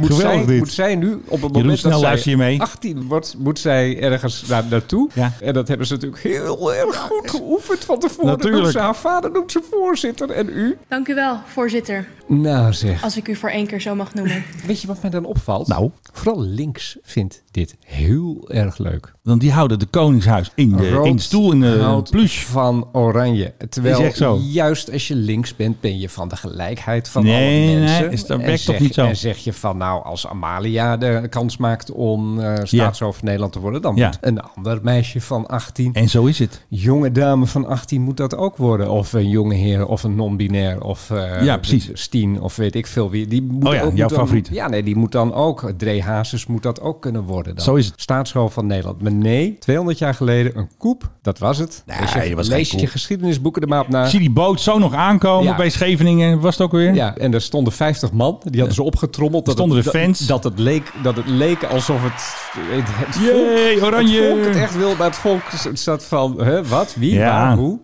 Speaker 7: Moet
Speaker 6: Geweldig
Speaker 7: zij,
Speaker 6: dit.
Speaker 7: moet zij nu op het
Speaker 6: Jeroen,
Speaker 7: moment
Speaker 6: snel
Speaker 7: dat zij
Speaker 6: luister je mee.
Speaker 7: 18 wordt, moet zij ergens naar, naartoe.
Speaker 6: Ja.
Speaker 7: En dat hebben ze natuurlijk heel erg goed geoefend van tevoren.
Speaker 6: Natuurlijk.
Speaker 7: Noemt ze haar vader noemt ze voorzitter en u.
Speaker 5: Dank u wel, voorzitter.
Speaker 7: Nou zeg.
Speaker 5: Als ik u voor één keer zo mag noemen.
Speaker 7: Weet je wat mij dan opvalt?
Speaker 6: Nou,
Speaker 7: Vooral links vindt dit heel erg leuk.
Speaker 6: dan die houden de koningshuis in de,
Speaker 7: Rood
Speaker 6: in de stoel in de
Speaker 7: houdt
Speaker 6: plush.
Speaker 7: van oranje. Terwijl
Speaker 6: Is echt zo.
Speaker 7: juist als je links bent, ben je van de gelijkheid van
Speaker 6: Nee,
Speaker 7: alle mensen.
Speaker 6: nee, is- dat
Speaker 7: En
Speaker 6: werkt toch
Speaker 7: zeg-
Speaker 6: niet zo?
Speaker 7: En zeg je van nou, als Amalia de kans maakt om eh staatshoofd van Nederland te worden, dan
Speaker 6: Ja.
Speaker 7: moet een ander meisje van 18,
Speaker 6: En zo is het.
Speaker 7: jonge dame van 18 moet dat ook worden. Of een jonge heer, of een non-binair, of eh
Speaker 6: Ja, precies.
Speaker 7: Stien, of weet ik veel wie. Die moet
Speaker 6: Oh ja,
Speaker 7: ook, moet
Speaker 6: jouw
Speaker 7: dan-
Speaker 6: favoriet.
Speaker 7: Ja, nee, die moet dan ook, Dree Hazes moet dat ook kunnen worden dan.
Speaker 6: Zo is het.
Speaker 7: Staatshoofd van Nederland. Maar nee, 200 jaar geleden een koep, dat was het.
Speaker 6: Nee,
Speaker 7: Dus je
Speaker 6: dat was geen
Speaker 7: lees je
Speaker 6: koep.
Speaker 7: geschiedenisboeken er maar op na.
Speaker 6: Ik zie die boot zo nog aankomen
Speaker 7: Ja.
Speaker 6: bij Scheveningen. Was het ook weer?
Speaker 7: Ja, en er stonden 50 man. Die hadden ze opgetrommeld. Dat
Speaker 6: stonden
Speaker 7: het,
Speaker 6: de
Speaker 7: dat-
Speaker 6: fans.
Speaker 7: Dat, het leek, dat het leek alsof het... het, het volk-
Speaker 6: Jee, oranje.
Speaker 7: Het volk het echt wil, maar het volk zat van... Hè, wat, wie,
Speaker 6: Ja.
Speaker 7: waar, hoe?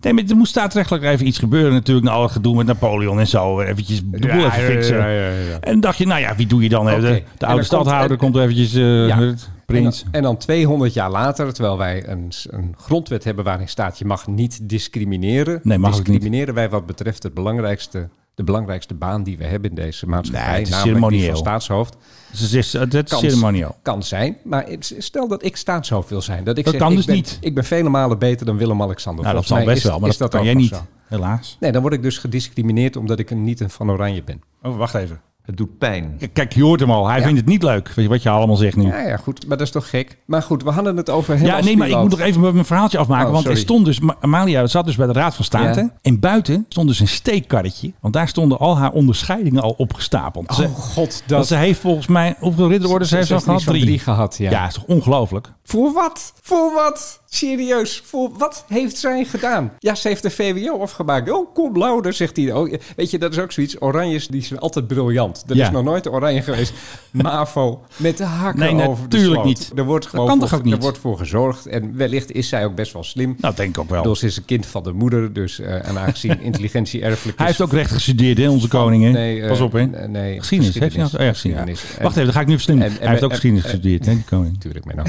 Speaker 6: Nee, maar er moest staatsrechtelijk even iets gebeuren natuurlijk. Na al het gedoe met Napoleon en zo. Eventjes de boel even fixen.
Speaker 7: Ja, ja, ja, ja.
Speaker 6: En dan dacht je, nou ja, wie doe je dan?
Speaker 7: Oké.
Speaker 6: De,
Speaker 7: En
Speaker 6: de
Speaker 7: dan
Speaker 6: oude
Speaker 7: komt-
Speaker 6: stadhouder
Speaker 7: en-
Speaker 6: komt, eventjes, eh,
Speaker 7: Ja.
Speaker 6: het prins.
Speaker 7: En dan, en dan 200 jaar later, terwijl wij een, een grondwet hebben waarin staat je mag niet discrimineren.
Speaker 6: Nee, mag ook niet.
Speaker 7: discrimineren wij wat betreft het belangrijkste, de belangrijkste baan die we hebben in deze maatschappij,
Speaker 6: Nee, het is
Speaker 7: namelijk die
Speaker 6: ceremonieel.
Speaker 7: van staatshoofd.
Speaker 6: Dus het is, het is
Speaker 7: Kans.
Speaker 6: ceremonieel.
Speaker 7: Kan zijn, maar het- stel dat ik staatshoofd wil zijn. Dat, ik
Speaker 6: Dat
Speaker 7: zeg,
Speaker 6: kan
Speaker 7: ik
Speaker 6: dus
Speaker 7: ben,
Speaker 6: niet.
Speaker 7: Ik ben vele malen beter dan Willem-Alexander.
Speaker 6: Nou, dat
Speaker 7: Volgens
Speaker 6: zal
Speaker 7: mij
Speaker 6: best
Speaker 7: is-
Speaker 6: wel, maar
Speaker 7: is
Speaker 6: dat, kan
Speaker 7: ook
Speaker 6: jij
Speaker 7: nog
Speaker 6: niet.
Speaker 7: zo.
Speaker 6: Helaas.
Speaker 7: Nee, dan word ik dus gediscrimineerd omdat ik een niet een van Oranje ben.
Speaker 6: Oh, wacht even.
Speaker 1: Het doet pijn.
Speaker 6: Kijk, je hoort hem al. Hij
Speaker 7: Ja.
Speaker 6: vindt het niet leuk, weet je, wat je allemaal zegt nu.
Speaker 7: Ja, ja, goed, maar dat is toch gek. Maar goed, we hadden het over
Speaker 6: Ja, nee, maar ik moet nog even mijn verhaaltje afmaken.
Speaker 7: Oh,
Speaker 6: want er
Speaker 7: sorry.
Speaker 6: stond dus, Ma- Amalia zat dus bij de Raad van State.
Speaker 7: Ja.
Speaker 6: En buiten stond dus een steekkarretje. Want daar stonden al haar onderscheidingen al opgestapeld. Ze-
Speaker 7: Oh god, dat,
Speaker 6: dat ze heeft volgens mij, hoeveel ridderorders
Speaker 7: Ze-
Speaker 6: heeft ze
Speaker 7: ze
Speaker 6: al
Speaker 7: heeft
Speaker 6: gehad?
Speaker 7: iets van
Speaker 6: Drie.
Speaker 7: drie gehad, ja.
Speaker 6: Ja, is toch ongelooflijk?
Speaker 7: Voor wat? Voor wat? Serieus, voor wat heeft zij gedaan? Ja, ze heeft de VWO afgemaakt. Oh, kom louder, zegt hij. Oh, weet je, dat is ook zoiets. Oranjes, die zijn altijd briljant. Er
Speaker 6: Ja.
Speaker 7: is nog nooit een oranje geweest. MAVO, met de hakken
Speaker 6: Nee,
Speaker 7: over de
Speaker 6: natuurlijk
Speaker 7: sloot.
Speaker 6: niet.
Speaker 7: Er wordt
Speaker 6: Dat
Speaker 7: gewoon
Speaker 6: kan
Speaker 7: voor,
Speaker 6: toch ook niet?
Speaker 7: Er wordt voor gezorgd. En wellicht is zij ook best wel slim.
Speaker 6: Nou, denk ik ook
Speaker 7: Ik
Speaker 6: wel.
Speaker 7: bedoel, ze is een kind van de moeder. Dus, eh, en aangezien intelligentie erfelijk is...
Speaker 6: Hij heeft ook recht gestudeerd, hè, onze koning. Hè?
Speaker 7: Nee, eh,
Speaker 6: Pas op, hè?
Speaker 7: nee, nee,
Speaker 6: geschiedenis. Heeft hij nou? Oh, ja, geschiedenis.
Speaker 7: Geschiedenis.
Speaker 6: Ja. Wacht even, dan ga ik nu verslimmen.
Speaker 7: en- en-
Speaker 6: hij heeft ook
Speaker 7: en-
Speaker 6: geschiedenis
Speaker 7: en-
Speaker 6: gestudeerd, hè, die koning.
Speaker 7: Natuurlijk, Menno.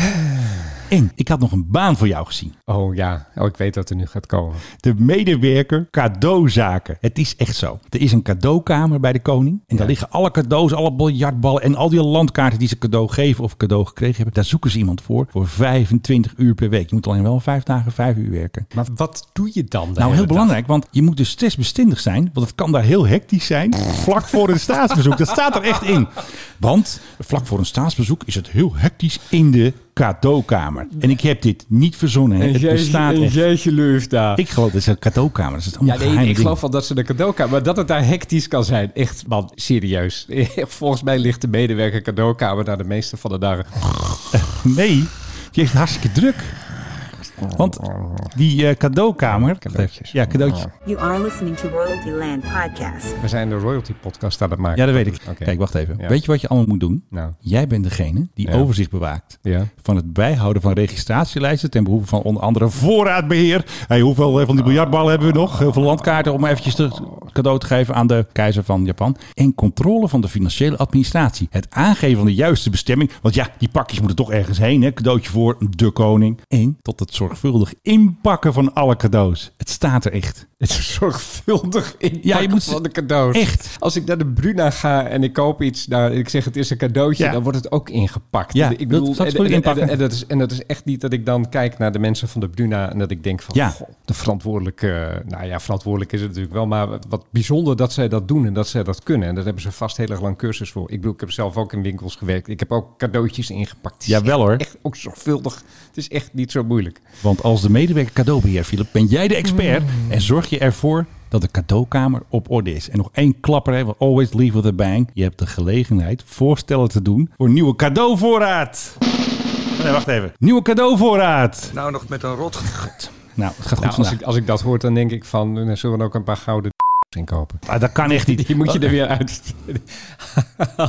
Speaker 6: En ik had nog een baan voor jou gezien.
Speaker 7: Oh ja, oh, ik weet dat er nu gaat komen.
Speaker 6: De medewerker cadeauzaken. Het is echt zo. Er is een cadeaukamer bij de koning. En daar
Speaker 7: Ja.
Speaker 6: liggen alle cadeaus, alle biljartballen en al die landkaarten die ze cadeau geven of cadeau gekregen hebben. Daar zoeken ze iemand voor. Voor 25 uur per week. Je moet alleen wel vijf dagen, vijf uur werken.
Speaker 7: Maar wat doe je dan?
Speaker 6: Nou, heel belangrijk, want je moet dus stressbestendig zijn. Want het kan daar heel hectisch zijn. Vlak voor een staatsbezoek. Dat staat er echt in. Want vlak voor een staatsbezoek is het heel hectisch in de cadeaukamer. En ik heb dit niet verzonnen. hè. Het bestaat echt.
Speaker 7: jeetje leuf daar.
Speaker 6: Ik geloof dat is een cadeaukamer. Dat is allemaal
Speaker 7: ja, nee,
Speaker 6: geheime
Speaker 7: ik
Speaker 6: dingen.
Speaker 7: geloof wel dat ze de cadeaukamer... Maar dat het daar hectisch kan zijn. Echt, man, serieus. Volgens mij ligt de medewerker cadeaukamer naar de meeste van de dagen.
Speaker 6: Nee, die heeft het hartstikke druk. Want die eh, cadeaukamer... Cadeautjes. Ja, cadeautjes.
Speaker 13: You are listening to Royalty Land Podcast.
Speaker 7: We zijn de royalty podcast aan het maken.
Speaker 6: Ja, dat weet ik. Kijk, wacht even. Weet je wat je allemaal moet doen? Jij bent degene die
Speaker 7: Nou. Ja.
Speaker 6: overzicht bewaakt
Speaker 7: Ja.
Speaker 6: van het bijhouden van registratielijsten ten behoeve van onder andere voorraadbeheer. Hey, hoeveel eh, van die biljartballen hebben we nog? Heel veel landkaarten om eventjes terug cadeau te geven aan de keizer van Japan. En controle van de financiële administratie. Het aangeven van de juiste bestemming. Want ja, die pakjes moeten toch ergens heen. Hè? Cadeautje voor de koning. En tot het zorgvuldig inpakken van alle cadeaus. Het staat er echt.
Speaker 7: Het is zorgvuldig inpakken
Speaker 6: Ja, je moet-
Speaker 7: van de cadeaus.
Speaker 6: Echt.
Speaker 7: Als ik naar de Bruna ga en ik koop iets, nou, ik zeg het is een cadeautje,
Speaker 6: Ja.
Speaker 7: dan wordt het ook ingepakt.
Speaker 6: Ja, dat-
Speaker 7: ik
Speaker 6: dat
Speaker 7: en,
Speaker 6: moet je
Speaker 7: en-
Speaker 6: inpakken.
Speaker 7: en- en dat is, en dat is echt niet dat ik dan kijk naar de mensen van de Bruna en dat ik denk van,
Speaker 6: Ja.
Speaker 7: goh, de verantwoordelijke, nou ja, verantwoordelijk is het natuurlijk wel, maar wat bijzonder dat zij dat doen en dat zij dat kunnen. En daar hebben ze vast heel erg lang cursus voor. Ik bedoel, ik heb zelf ook in winkels gewerkt. Ik heb ook cadeautjes ingepakt. Het is
Speaker 6: Jawel
Speaker 7: echt-
Speaker 6: hoor.
Speaker 7: Echt ook zorgvuldig. Het is echt niet zo moeilijk.
Speaker 6: Want als de medewerker cadeaubeheer, Philip, ben jij de expert
Speaker 7: Mm.
Speaker 6: en zorg je ervoor dat de cadeaukamer op orde is. En nog één klapper, hè, want always leave with a bang. Je hebt de gelegenheid voorstellen te doen voor nieuwe cadeauvoorraad. Oh, Nee, wacht even. Nieuwe cadeauvoorraad.
Speaker 2: Nou, nog met een rot gegooid.
Speaker 6: Nou, het gaat goed
Speaker 7: Nou, als,
Speaker 6: vandaag.
Speaker 7: ik, als ik dat hoor, dan denk ik van, nou, zullen we ook een paar gouden d***s inkopen?
Speaker 6: Ah, dat kan echt niet.
Speaker 7: Die moet je er weer uit.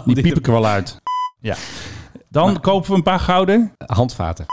Speaker 6: Die piep ik er wel uit. Ja. Dan
Speaker 7: Nou.
Speaker 6: kopen we een paar gouden.
Speaker 7: Handvaten.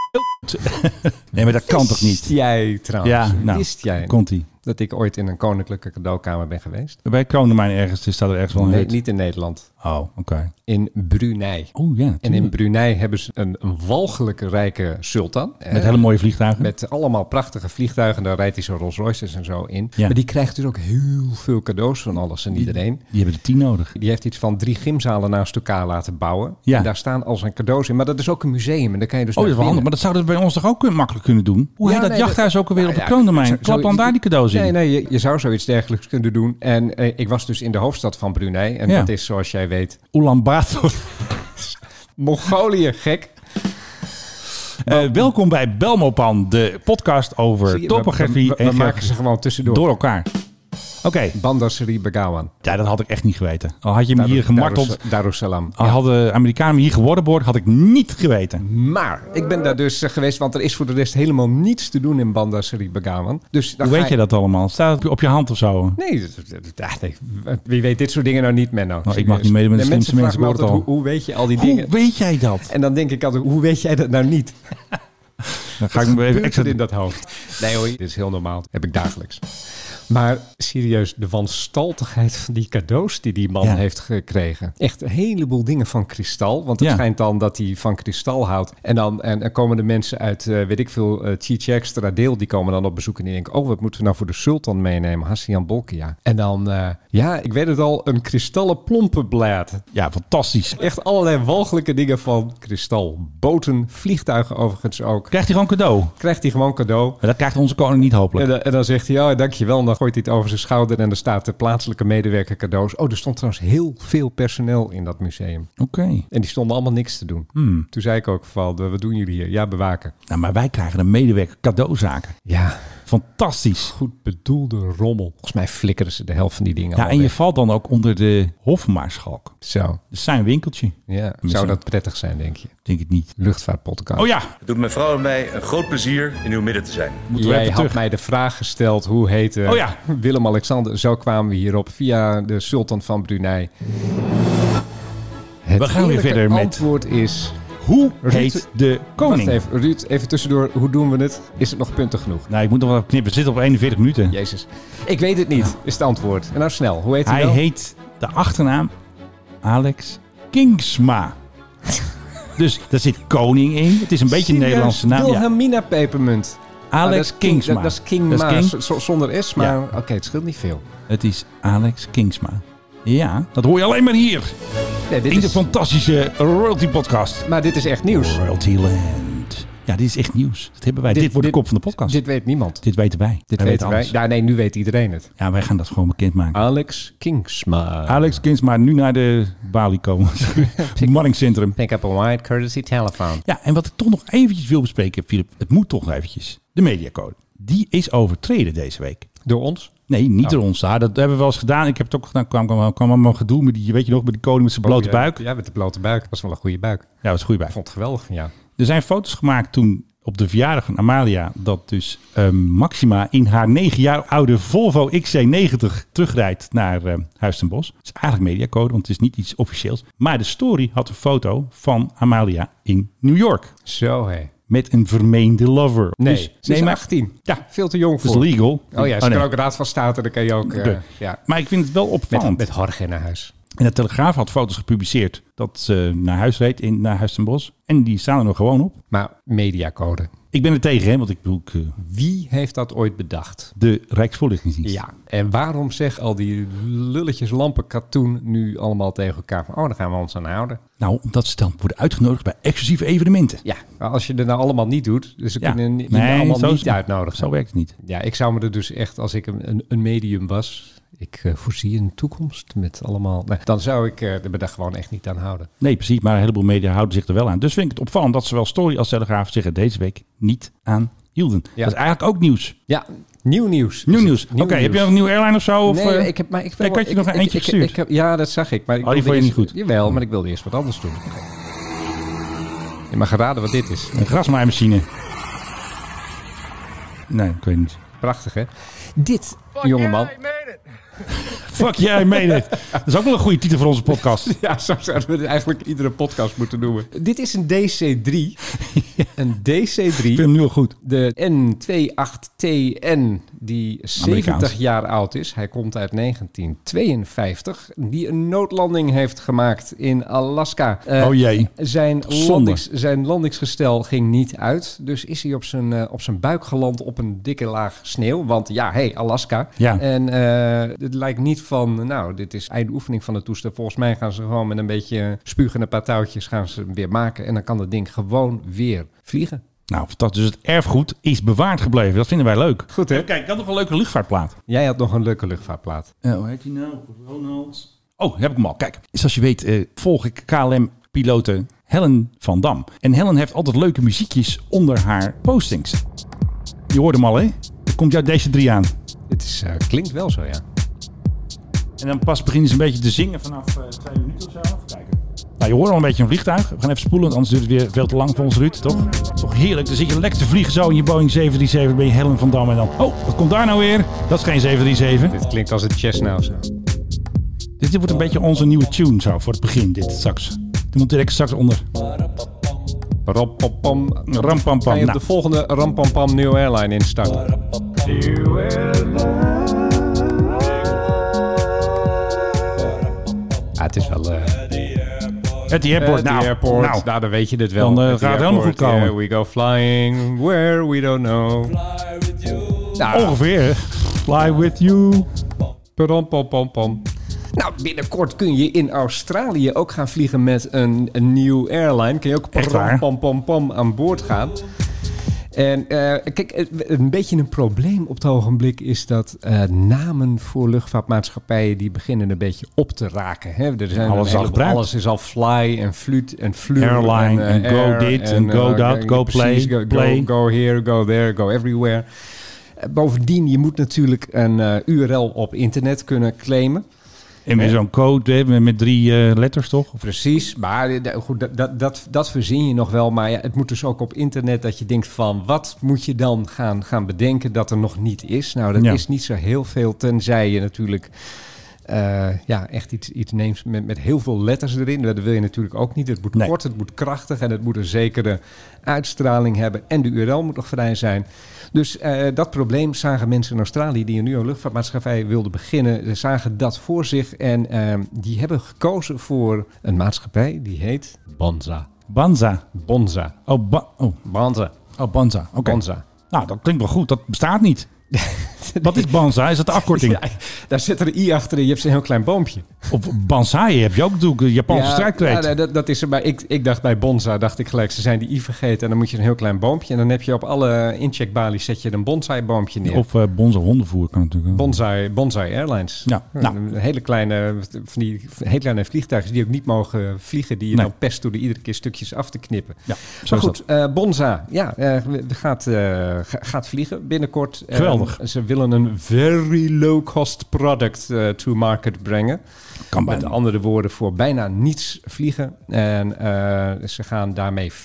Speaker 6: Nee, maar dat kan toch
Speaker 7: Wist
Speaker 6: niet?
Speaker 7: jij trouwens?
Speaker 6: Ja, nou,
Speaker 7: wist jij
Speaker 6: komt-ie.
Speaker 7: dat ik ooit in een koninklijke cadeaukamer ben geweest?
Speaker 6: Bij Kronemijn ergens, dus staat er ergens wel een
Speaker 7: nee,
Speaker 6: hut.
Speaker 7: niet in Nederland.
Speaker 6: Oh, oké.
Speaker 7: In Brunei.
Speaker 6: Oh ja,
Speaker 7: En in
Speaker 6: natuurlijk.
Speaker 7: Brunei hebben ze een, een walgelijke rijke sultan.
Speaker 6: Met hele mooie vliegtuigen.
Speaker 7: Met allemaal prachtige vliegtuigen. Daar rijdt hij zo Rolls Royces en zo in.
Speaker 6: Ja.
Speaker 7: Maar die krijgt dus ook heel veel cadeaus van alles en iedereen.
Speaker 6: Die hebben er tien nodig.
Speaker 7: Die heeft iets van drie gymzalen naast elkaar laten bouwen.
Speaker 6: Ja.
Speaker 7: En daar staan al zijn cadeaus in. Maar dat is ook een museum. En daar kan je dus
Speaker 6: Oh, dat is wel handig.
Speaker 7: naar binnen.
Speaker 6: Maar dat zouden we bij ons toch ook kun- makkelijk kunnen doen? Hoe
Speaker 7: Ja,
Speaker 6: heet dat
Speaker 7: nee, Nou
Speaker 6: jachthuis ook alweer op de
Speaker 7: ja,
Speaker 6: kroondomein?
Speaker 7: zo-
Speaker 6: Klap dan
Speaker 7: zoiets-
Speaker 6: daar die cadeaus in.
Speaker 7: Nee, nee, je, je zou zoiets dergelijks kunnen doen. En eh, ik was dus in de hoofdstad van Brunei. En
Speaker 6: Ja.
Speaker 7: dat is, zoals jij weet,
Speaker 6: Ulaanbaatar.
Speaker 7: Mongolië, gek.
Speaker 6: Eh, welkom bij Belmopan, de podcast
Speaker 7: Zie
Speaker 6: over
Speaker 7: je,
Speaker 6: topografie
Speaker 7: we- we- we
Speaker 6: en
Speaker 7: maken
Speaker 6: geografie.
Speaker 7: ze gewoon tussendoor.
Speaker 6: Door elkaar. Oké,
Speaker 7: Bandasseri Begawan.
Speaker 6: ja, dat had ik echt niet geweten. Al had je me
Speaker 7: Daarom-
Speaker 6: hier gemarteld,
Speaker 7: daarom- Darussalam.
Speaker 6: al hadden Amerikanen me hier geworden had ik niet geweten.
Speaker 7: eh, Maar ik ben daar dus eh, geweest, want er is voor de rest helemaal niets te doen in Bandasseri Begawan. Dus dan
Speaker 6: Hoe
Speaker 7: ga
Speaker 6: weet je dat allemaal? Staat het op je hand of zo?
Speaker 7: Nee, dat- dat- dat- ja, nee, wie weet dit soort dingen nou niet, Menno.
Speaker 6: Nou, ik mag niet meedoen met de
Speaker 7: Nee,
Speaker 6: slimste mensen,
Speaker 7: vragen
Speaker 6: ik hoor
Speaker 7: me
Speaker 6: het
Speaker 7: altijd, Hoe, hoe weet je al die
Speaker 6: Hoe
Speaker 7: dingen? Eh,
Speaker 6: weet jij dat?
Speaker 7: En dan denk ik altijd, hoe weet jij dat nou niet?
Speaker 6: Dan ga ik me even
Speaker 7: Gebeurt
Speaker 6: extra...
Speaker 7: het in dat hoofd. Nee hoor, dit is heel normaal. Heb ik dagelijks. Maar serieus, de wanstaltigheid van die cadeaus die die man
Speaker 6: Ja.
Speaker 7: heeft gekregen. Echt een heleboel dingen van kristal. Want het
Speaker 6: Ja.
Speaker 7: schijnt dan dat hij van kristal houdt. En dan en, er komen de mensen uit, eh, weet ik veel, eh Chichextra deel. Die komen dan op bezoek en die denken... Oh, wat moeten we nou voor de sultan meenemen? Hassian Bolkiah. En dan, eh, ja, ik weet het al, een kristallen plompenblaad.
Speaker 6: Ja, fantastisch.
Speaker 7: Echt allerlei walgelijke dingen van kristal. Boten, vliegtuigen overigens ook.
Speaker 6: Krijgt hij gewoon cadeau?
Speaker 7: Krijgt hij gewoon cadeau.
Speaker 6: Maar dat krijgt onze koning niet hopelijk.
Speaker 7: En dan, en dan zegt hij, oh, dankjewel. En dan gooit hij het over zijn schouder en er staat de plaatselijke medewerker cadeaus. Oh, er stond trouwens heel veel personeel in dat museum.
Speaker 6: Oké.
Speaker 7: En die stonden allemaal niks te doen.
Speaker 6: Hmm.
Speaker 7: Toen zei ik ook van, wat doen jullie hier? Ja, bewaken.
Speaker 6: Nou, maar wij krijgen een medewerker cadeauzaken.
Speaker 7: Ja,
Speaker 6: Fantastisch.
Speaker 7: goed bedoelde rommel. Volgens mij flikkeren ze de helft van die dingen
Speaker 6: Ja,
Speaker 7: al
Speaker 6: en je
Speaker 7: weg.
Speaker 6: valt dan ook onder de hofmaarschalk.
Speaker 7: Zo,
Speaker 6: Dus zijn winkeltje.
Speaker 7: ja. Zou
Speaker 6: Misschien.
Speaker 7: dat prettig zijn, denk je?
Speaker 6: Denk ik niet.
Speaker 7: Luchtvaartpodcast.
Speaker 6: Oh ja,
Speaker 2: Het doet mijn vrouw en mij een groot plezier in uw midden te zijn.
Speaker 6: moeten we
Speaker 7: Jij
Speaker 6: even
Speaker 7: had
Speaker 6: terug.
Speaker 7: mij de vraag gesteld, hoe heette
Speaker 6: Oh ja.
Speaker 7: Willem-Alexander? Zo kwamen we hierop via de sultan van Brunei. Het
Speaker 6: We gaan weer
Speaker 7: eerlijke
Speaker 6: verder met-
Speaker 7: antwoord is...
Speaker 6: Hoe
Speaker 7: Ruud-
Speaker 6: heet de koning?
Speaker 7: Wacht even, Ruud, even tussendoor. Hoe doen we het? Is het nog punten genoeg?
Speaker 6: Nou, ik moet nog wel knippen. We zitten op 41 minuten.
Speaker 7: Jezus. Ik weet het niet, is het antwoord. En nou snel, hoe heet hij,
Speaker 6: Hij
Speaker 7: wel?
Speaker 6: heet de achternaam Alex Kingsma. dus daar zit koning in. Het is een beetje een
Speaker 7: Serieus?
Speaker 6: Nederlandse naam. Ja.
Speaker 7: Wilhelmina Pepermunt. Nou, dat
Speaker 6: Alex
Speaker 7: is King-
Speaker 6: Kingsma.
Speaker 7: Dat, dat is King
Speaker 6: Dat is
Speaker 7: Ma,
Speaker 6: King.
Speaker 7: z- z- zonder S, maar
Speaker 6: Ja.
Speaker 7: oké, het scheelt niet veel.
Speaker 6: Het is Alex Kingsma. Ja, dat hoor je alleen maar hier.
Speaker 7: Nee, dit
Speaker 6: In de
Speaker 7: is,
Speaker 6: fantastische Royalty Podcast.
Speaker 7: maar dit is echt nieuws.
Speaker 6: Royalty Land. Ja, dit is echt nieuws. Dat hebben wij. Dit, wordt de kop van de podcast.
Speaker 7: Dit weet niemand.
Speaker 6: Dit weten wij.
Speaker 7: Dit
Speaker 6: wij
Speaker 7: weten wij.
Speaker 6: alles.
Speaker 7: Ja, nee, nu weet iedereen het.
Speaker 6: Ja, wij gaan dat gewoon bekendmaken.
Speaker 7: Alex Kingsma.
Speaker 6: Alex Kinsma, nu naar de balie komen. Manningscentrum.
Speaker 7: Pick up a wide courtesy telephone.
Speaker 6: Ja, en wat ik toch nog eventjes wil bespreken, Filip. Het moet toch nog eventjes. De mediacode. Die is overtreden deze week.
Speaker 7: Door ons?
Speaker 6: Nee, niet
Speaker 7: Oh.
Speaker 6: door ons. daar. Dat hebben we wel eens gedaan. Ik heb het ook gedaan. Kwam, kwam, kwam allemaal gedoe met die, weet je nog, met die koning met zijn blote
Speaker 7: Oh, ja.
Speaker 6: buik. Ja,
Speaker 7: Ja, met de blote buik. Dat was wel een goede buik.
Speaker 6: dat was een goede
Speaker 7: Ik
Speaker 6: buik.
Speaker 7: vond het geweldig van jou.
Speaker 6: Er zijn foto's gemaakt toen op de verjaardag van Amalia dat dus eh, Maxima in haar 9 jaar oude Volvo XC90 terugrijdt naar eh, Huis ten Bosch. Het is eigenlijk mediacode, want het is niet iets officieels. Maar de story had een foto van Amalia in New York.
Speaker 7: Zo hé.
Speaker 6: Met een vermeende lover.
Speaker 7: Nee,
Speaker 6: Dus-
Speaker 7: ze is 18. Ja. Veel te jong
Speaker 6: Het is
Speaker 7: voor.
Speaker 6: legal.
Speaker 7: Oh ja, ze
Speaker 6: Dus Oh,
Speaker 7: kan
Speaker 6: nee.
Speaker 7: ook raad van state. Dan kan je ook... eh,
Speaker 6: De-
Speaker 7: ja.
Speaker 6: Maar ik vind het wel opvallend.
Speaker 7: Met, met Jorge naar huis.
Speaker 6: En de Telegraaf had foto's gepubliceerd dat ze naar huis reed, in, naar Huis ten Bosch. En die staan er nog gewoon op.
Speaker 7: Maar mediacode.
Speaker 6: Ik ben er tegen, hè, want ik bedoel, ik, eh,
Speaker 7: Wie heeft dat ooit bedacht?
Speaker 6: de Rijksvoorlichtingsdienst.
Speaker 7: Ja, en waarom zeg al die lulletjes lampen katoen nu allemaal tegen elkaar? Van, oh, daar gaan we ons aan houden.
Speaker 6: Nou, omdat ze dan worden uitgenodigd bij exclusieve evenementen.
Speaker 7: Ja, maar als je er nou allemaal niet doet, dus ze
Speaker 6: Ja.
Speaker 7: kunnen niet,
Speaker 6: Nee,
Speaker 7: allemaal
Speaker 6: zo is
Speaker 7: niet
Speaker 6: het.
Speaker 7: uitnodigen.
Speaker 6: Zo werkt het niet.
Speaker 7: Ja, ik zou me er dus echt, als ik een, een medium was, ik eh, voorzie een toekomst met allemaal... Nee, dan zou ik eh, er me daar gewoon echt niet aan houden.
Speaker 6: Nee, precies, maar een heleboel media houden zich er wel aan. Dus vind ik het opvallend dat zowel Story als Telegraaf zich er deze week niet aan hielden.
Speaker 7: Ja.
Speaker 6: Dat is eigenlijk ook nieuws.
Speaker 7: Ja, nieuw nieuws.
Speaker 6: Nieuw nieuws. Oké, heb je nog een nieuwe airline of zo? Of,
Speaker 7: Nee,
Speaker 6: eh,
Speaker 7: ik heb, maar ik
Speaker 6: nee, ik had je nog een eentje
Speaker 7: ik-
Speaker 6: gestuurd.
Speaker 7: ik heb- ja, dat zag ik. Maar ik
Speaker 6: Oh, die
Speaker 7: wilde
Speaker 6: vond je
Speaker 7: eerst-
Speaker 6: niet goed.
Speaker 7: Jawel, maar ik wilde eerst wat anders doen. Je mag raden wat dit is.
Speaker 6: Een grasmaaimachine. Nee, ik weet niet.
Speaker 7: Prachtig, hè? Dit, jongeman.
Speaker 6: Fuck jij, yeah, meen het. Dat is ook wel een goede titel voor onze podcast.
Speaker 7: Ja, zo zouden we het eigenlijk iedere podcast moeten noemen. Dit is een DC-3. Een DC-3.
Speaker 6: Ik vind hem nu al goed.
Speaker 7: De N28TN, die 70
Speaker 6: Amerikaans.
Speaker 7: jaar oud is. Hij komt uit 1952. Die een noodlanding heeft gemaakt in Alaska. Eh,
Speaker 6: Oh jee.
Speaker 7: Zijn,
Speaker 6: Zonde.
Speaker 7: landings, zijn landingsgestel ging niet uit. Dus is hij op zijn, eh, op zijn buik geland op een dikke laag sneeuw. Want ja, hey, Alaska.
Speaker 6: Ja.
Speaker 7: En eh, het lijkt niet van, nou, dit is eindoefening van het toestel. Volgens mij gaan ze gewoon met een beetje spugen en een paar touwtjes gaan ze hem weer maken. En dan kan dat ding gewoon weer vliegen.
Speaker 6: Nou, fantastisch. Dus het erfgoed is bewaard gebleven. Dat vinden wij leuk.
Speaker 7: Goed hè?
Speaker 6: Kijk, ik had nog een leuke luchtvaartplaat.
Speaker 7: Jij had nog een leuke luchtvaartplaat.
Speaker 6: hoe heet die nou? Ronald. Oh, heb ik hem al. Kijk, zoals je weet eh, volg ik KLM-pilote Helen van Dam. En Helen heeft altijd leuke muziekjes onder haar postings. Je hoort hem al, hè? Er komt jou deze drie aan.
Speaker 7: Het is, eh, klinkt wel zo, ja.
Speaker 6: En dan pas beginnen ze een beetje te zingen vanaf eh, twee minuten of zo. Even kijken. Nou, je hoort al een beetje een vliegtuig. We gaan even spoelen, want anders duurt het weer veel te lang voor ons, Ruud, toch? Toch heerlijk. Dan zit je lekker te vliegen zo in je Boeing 737 ben je Helen van Dam. En dan, oh, wat komt daar nou weer? Dat is geen 737.
Speaker 7: Dit klinkt als een Chesnow zo.
Speaker 6: Dit wordt een beetje onze nieuwe tune zo voor het begin, dit straks. Die moet direct straks onder.
Speaker 7: Rampampam.
Speaker 6: Rampampam.
Speaker 7: Kan je op
Speaker 6: Nou.
Speaker 7: de volgende Rampampam New Airline instarten? Ja, het is wel... eh,
Speaker 6: At the airport.
Speaker 7: at the
Speaker 6: nou,
Speaker 7: airport.
Speaker 6: nou.
Speaker 7: Nou, dan weet je dit wel.
Speaker 6: Dan, eh,
Speaker 7: At the
Speaker 6: gaat het helemaal
Speaker 7: airport,
Speaker 6: goed komen.
Speaker 7: Here we go flying, where we don't know. Nou,
Speaker 6: ongeveer. hè. Fly with you.
Speaker 7: Pam-pam-pam-pam. Nou, binnenkort kun je in Australië ook gaan vliegen met een, een nieuw airline. Kun je ook
Speaker 6: Echt waar?
Speaker 7: pam-pam-pam aan boord gaan. En eh, kijk, eh, een beetje een probleem op het ogenblik is dat eh, namen voor luchtvaartmaatschappijen die beginnen een beetje op te raken. Hè? Er zijn
Speaker 6: Alles is
Speaker 7: een
Speaker 6: al
Speaker 7: heleboel-
Speaker 6: gebruikt.
Speaker 7: alles is al fly en fluit en flu.
Speaker 6: Airline
Speaker 7: eh,
Speaker 6: en go
Speaker 7: air
Speaker 6: dit en
Speaker 7: eh,
Speaker 6: go dat, go
Speaker 7: precies,
Speaker 6: play,
Speaker 7: go-
Speaker 6: play.
Speaker 7: Go, go here, go there, go everywhere. Eh, Bovendien, je moet natuurlijk een eh, URL op internet kunnen claimen.
Speaker 6: En weer zo'n code hè, met- met drie eh, letters, toch? Of-
Speaker 7: Precies, maar eh, d- goed, dat- dat, dat, dat verzin je nog wel. Maar ja, het moet dus ook op internet dat je denkt van... wat moet je dan gaan, gaan bedenken dat er nog niet is? Nou, dat
Speaker 6: Ja.
Speaker 7: is niet zo heel veel, tenzij je natuurlijk... eh, ja, echt iets, iets neemt met, met heel veel letters erin. Dat wil je natuurlijk ook niet. Het moet
Speaker 6: Nee.
Speaker 7: kort, het moet krachtig en het moet een zekere uitstraling hebben. En de URL moet nog vrij zijn. Dus eh, dat probleem zagen mensen in Australië die een nieuwe luchtvaartmaatschappij wilden beginnen, eh, zagen dat voor zich. En eh, die hebben gekozen voor een maatschappij die heet Bonza.
Speaker 6: Banza.
Speaker 7: Bonza.
Speaker 6: Oh, ba- oh.
Speaker 7: Bonza.
Speaker 6: oh Banza. Oké.
Speaker 7: Bonza.
Speaker 6: Nou, dat klinkt wel goed. Dat bestaat niet. Wat is Banza? Is dat de afkorting?
Speaker 7: Ja, daar zit er een i achter en je hebt zo'n heel klein boompje.
Speaker 6: Of Banzai heb je ook natuurlijk. een Japanse strijdkreet.
Speaker 7: ja, dat, dat is er. Maar ik, ik dacht bij Bonza, dacht ik gelijk, ze zijn die i vergeten. En dan moet je een heel klein boompje. En dan heb je op alle incheckbalies zet je een bonsai boompje neer.
Speaker 6: Of eh bonze hondenvoer kan natuurlijk. ook.
Speaker 7: Bonsai, Bonsai Airlines.
Speaker 6: Ja, nou.
Speaker 7: Een hele kleine, van die hele kleine vliegtuigen die ook niet mogen vliegen, die je
Speaker 6: Nee.
Speaker 7: dan pest door er iedere keer stukjes af te knippen.
Speaker 6: Ja, zo
Speaker 7: maar
Speaker 6: is
Speaker 7: goed, eh, Bonza, ja, eh, gaat, eh, ga- gaat vliegen binnenkort. Eh,
Speaker 6: Geweldig. Geweldig.
Speaker 7: Een, ze willen een very low cost product eh, to market brengen.
Speaker 6: Kan
Speaker 7: Met
Speaker 6: bijna.
Speaker 7: andere woorden, voor bijna niets vliegen. En eh, ze gaan daarmee 40%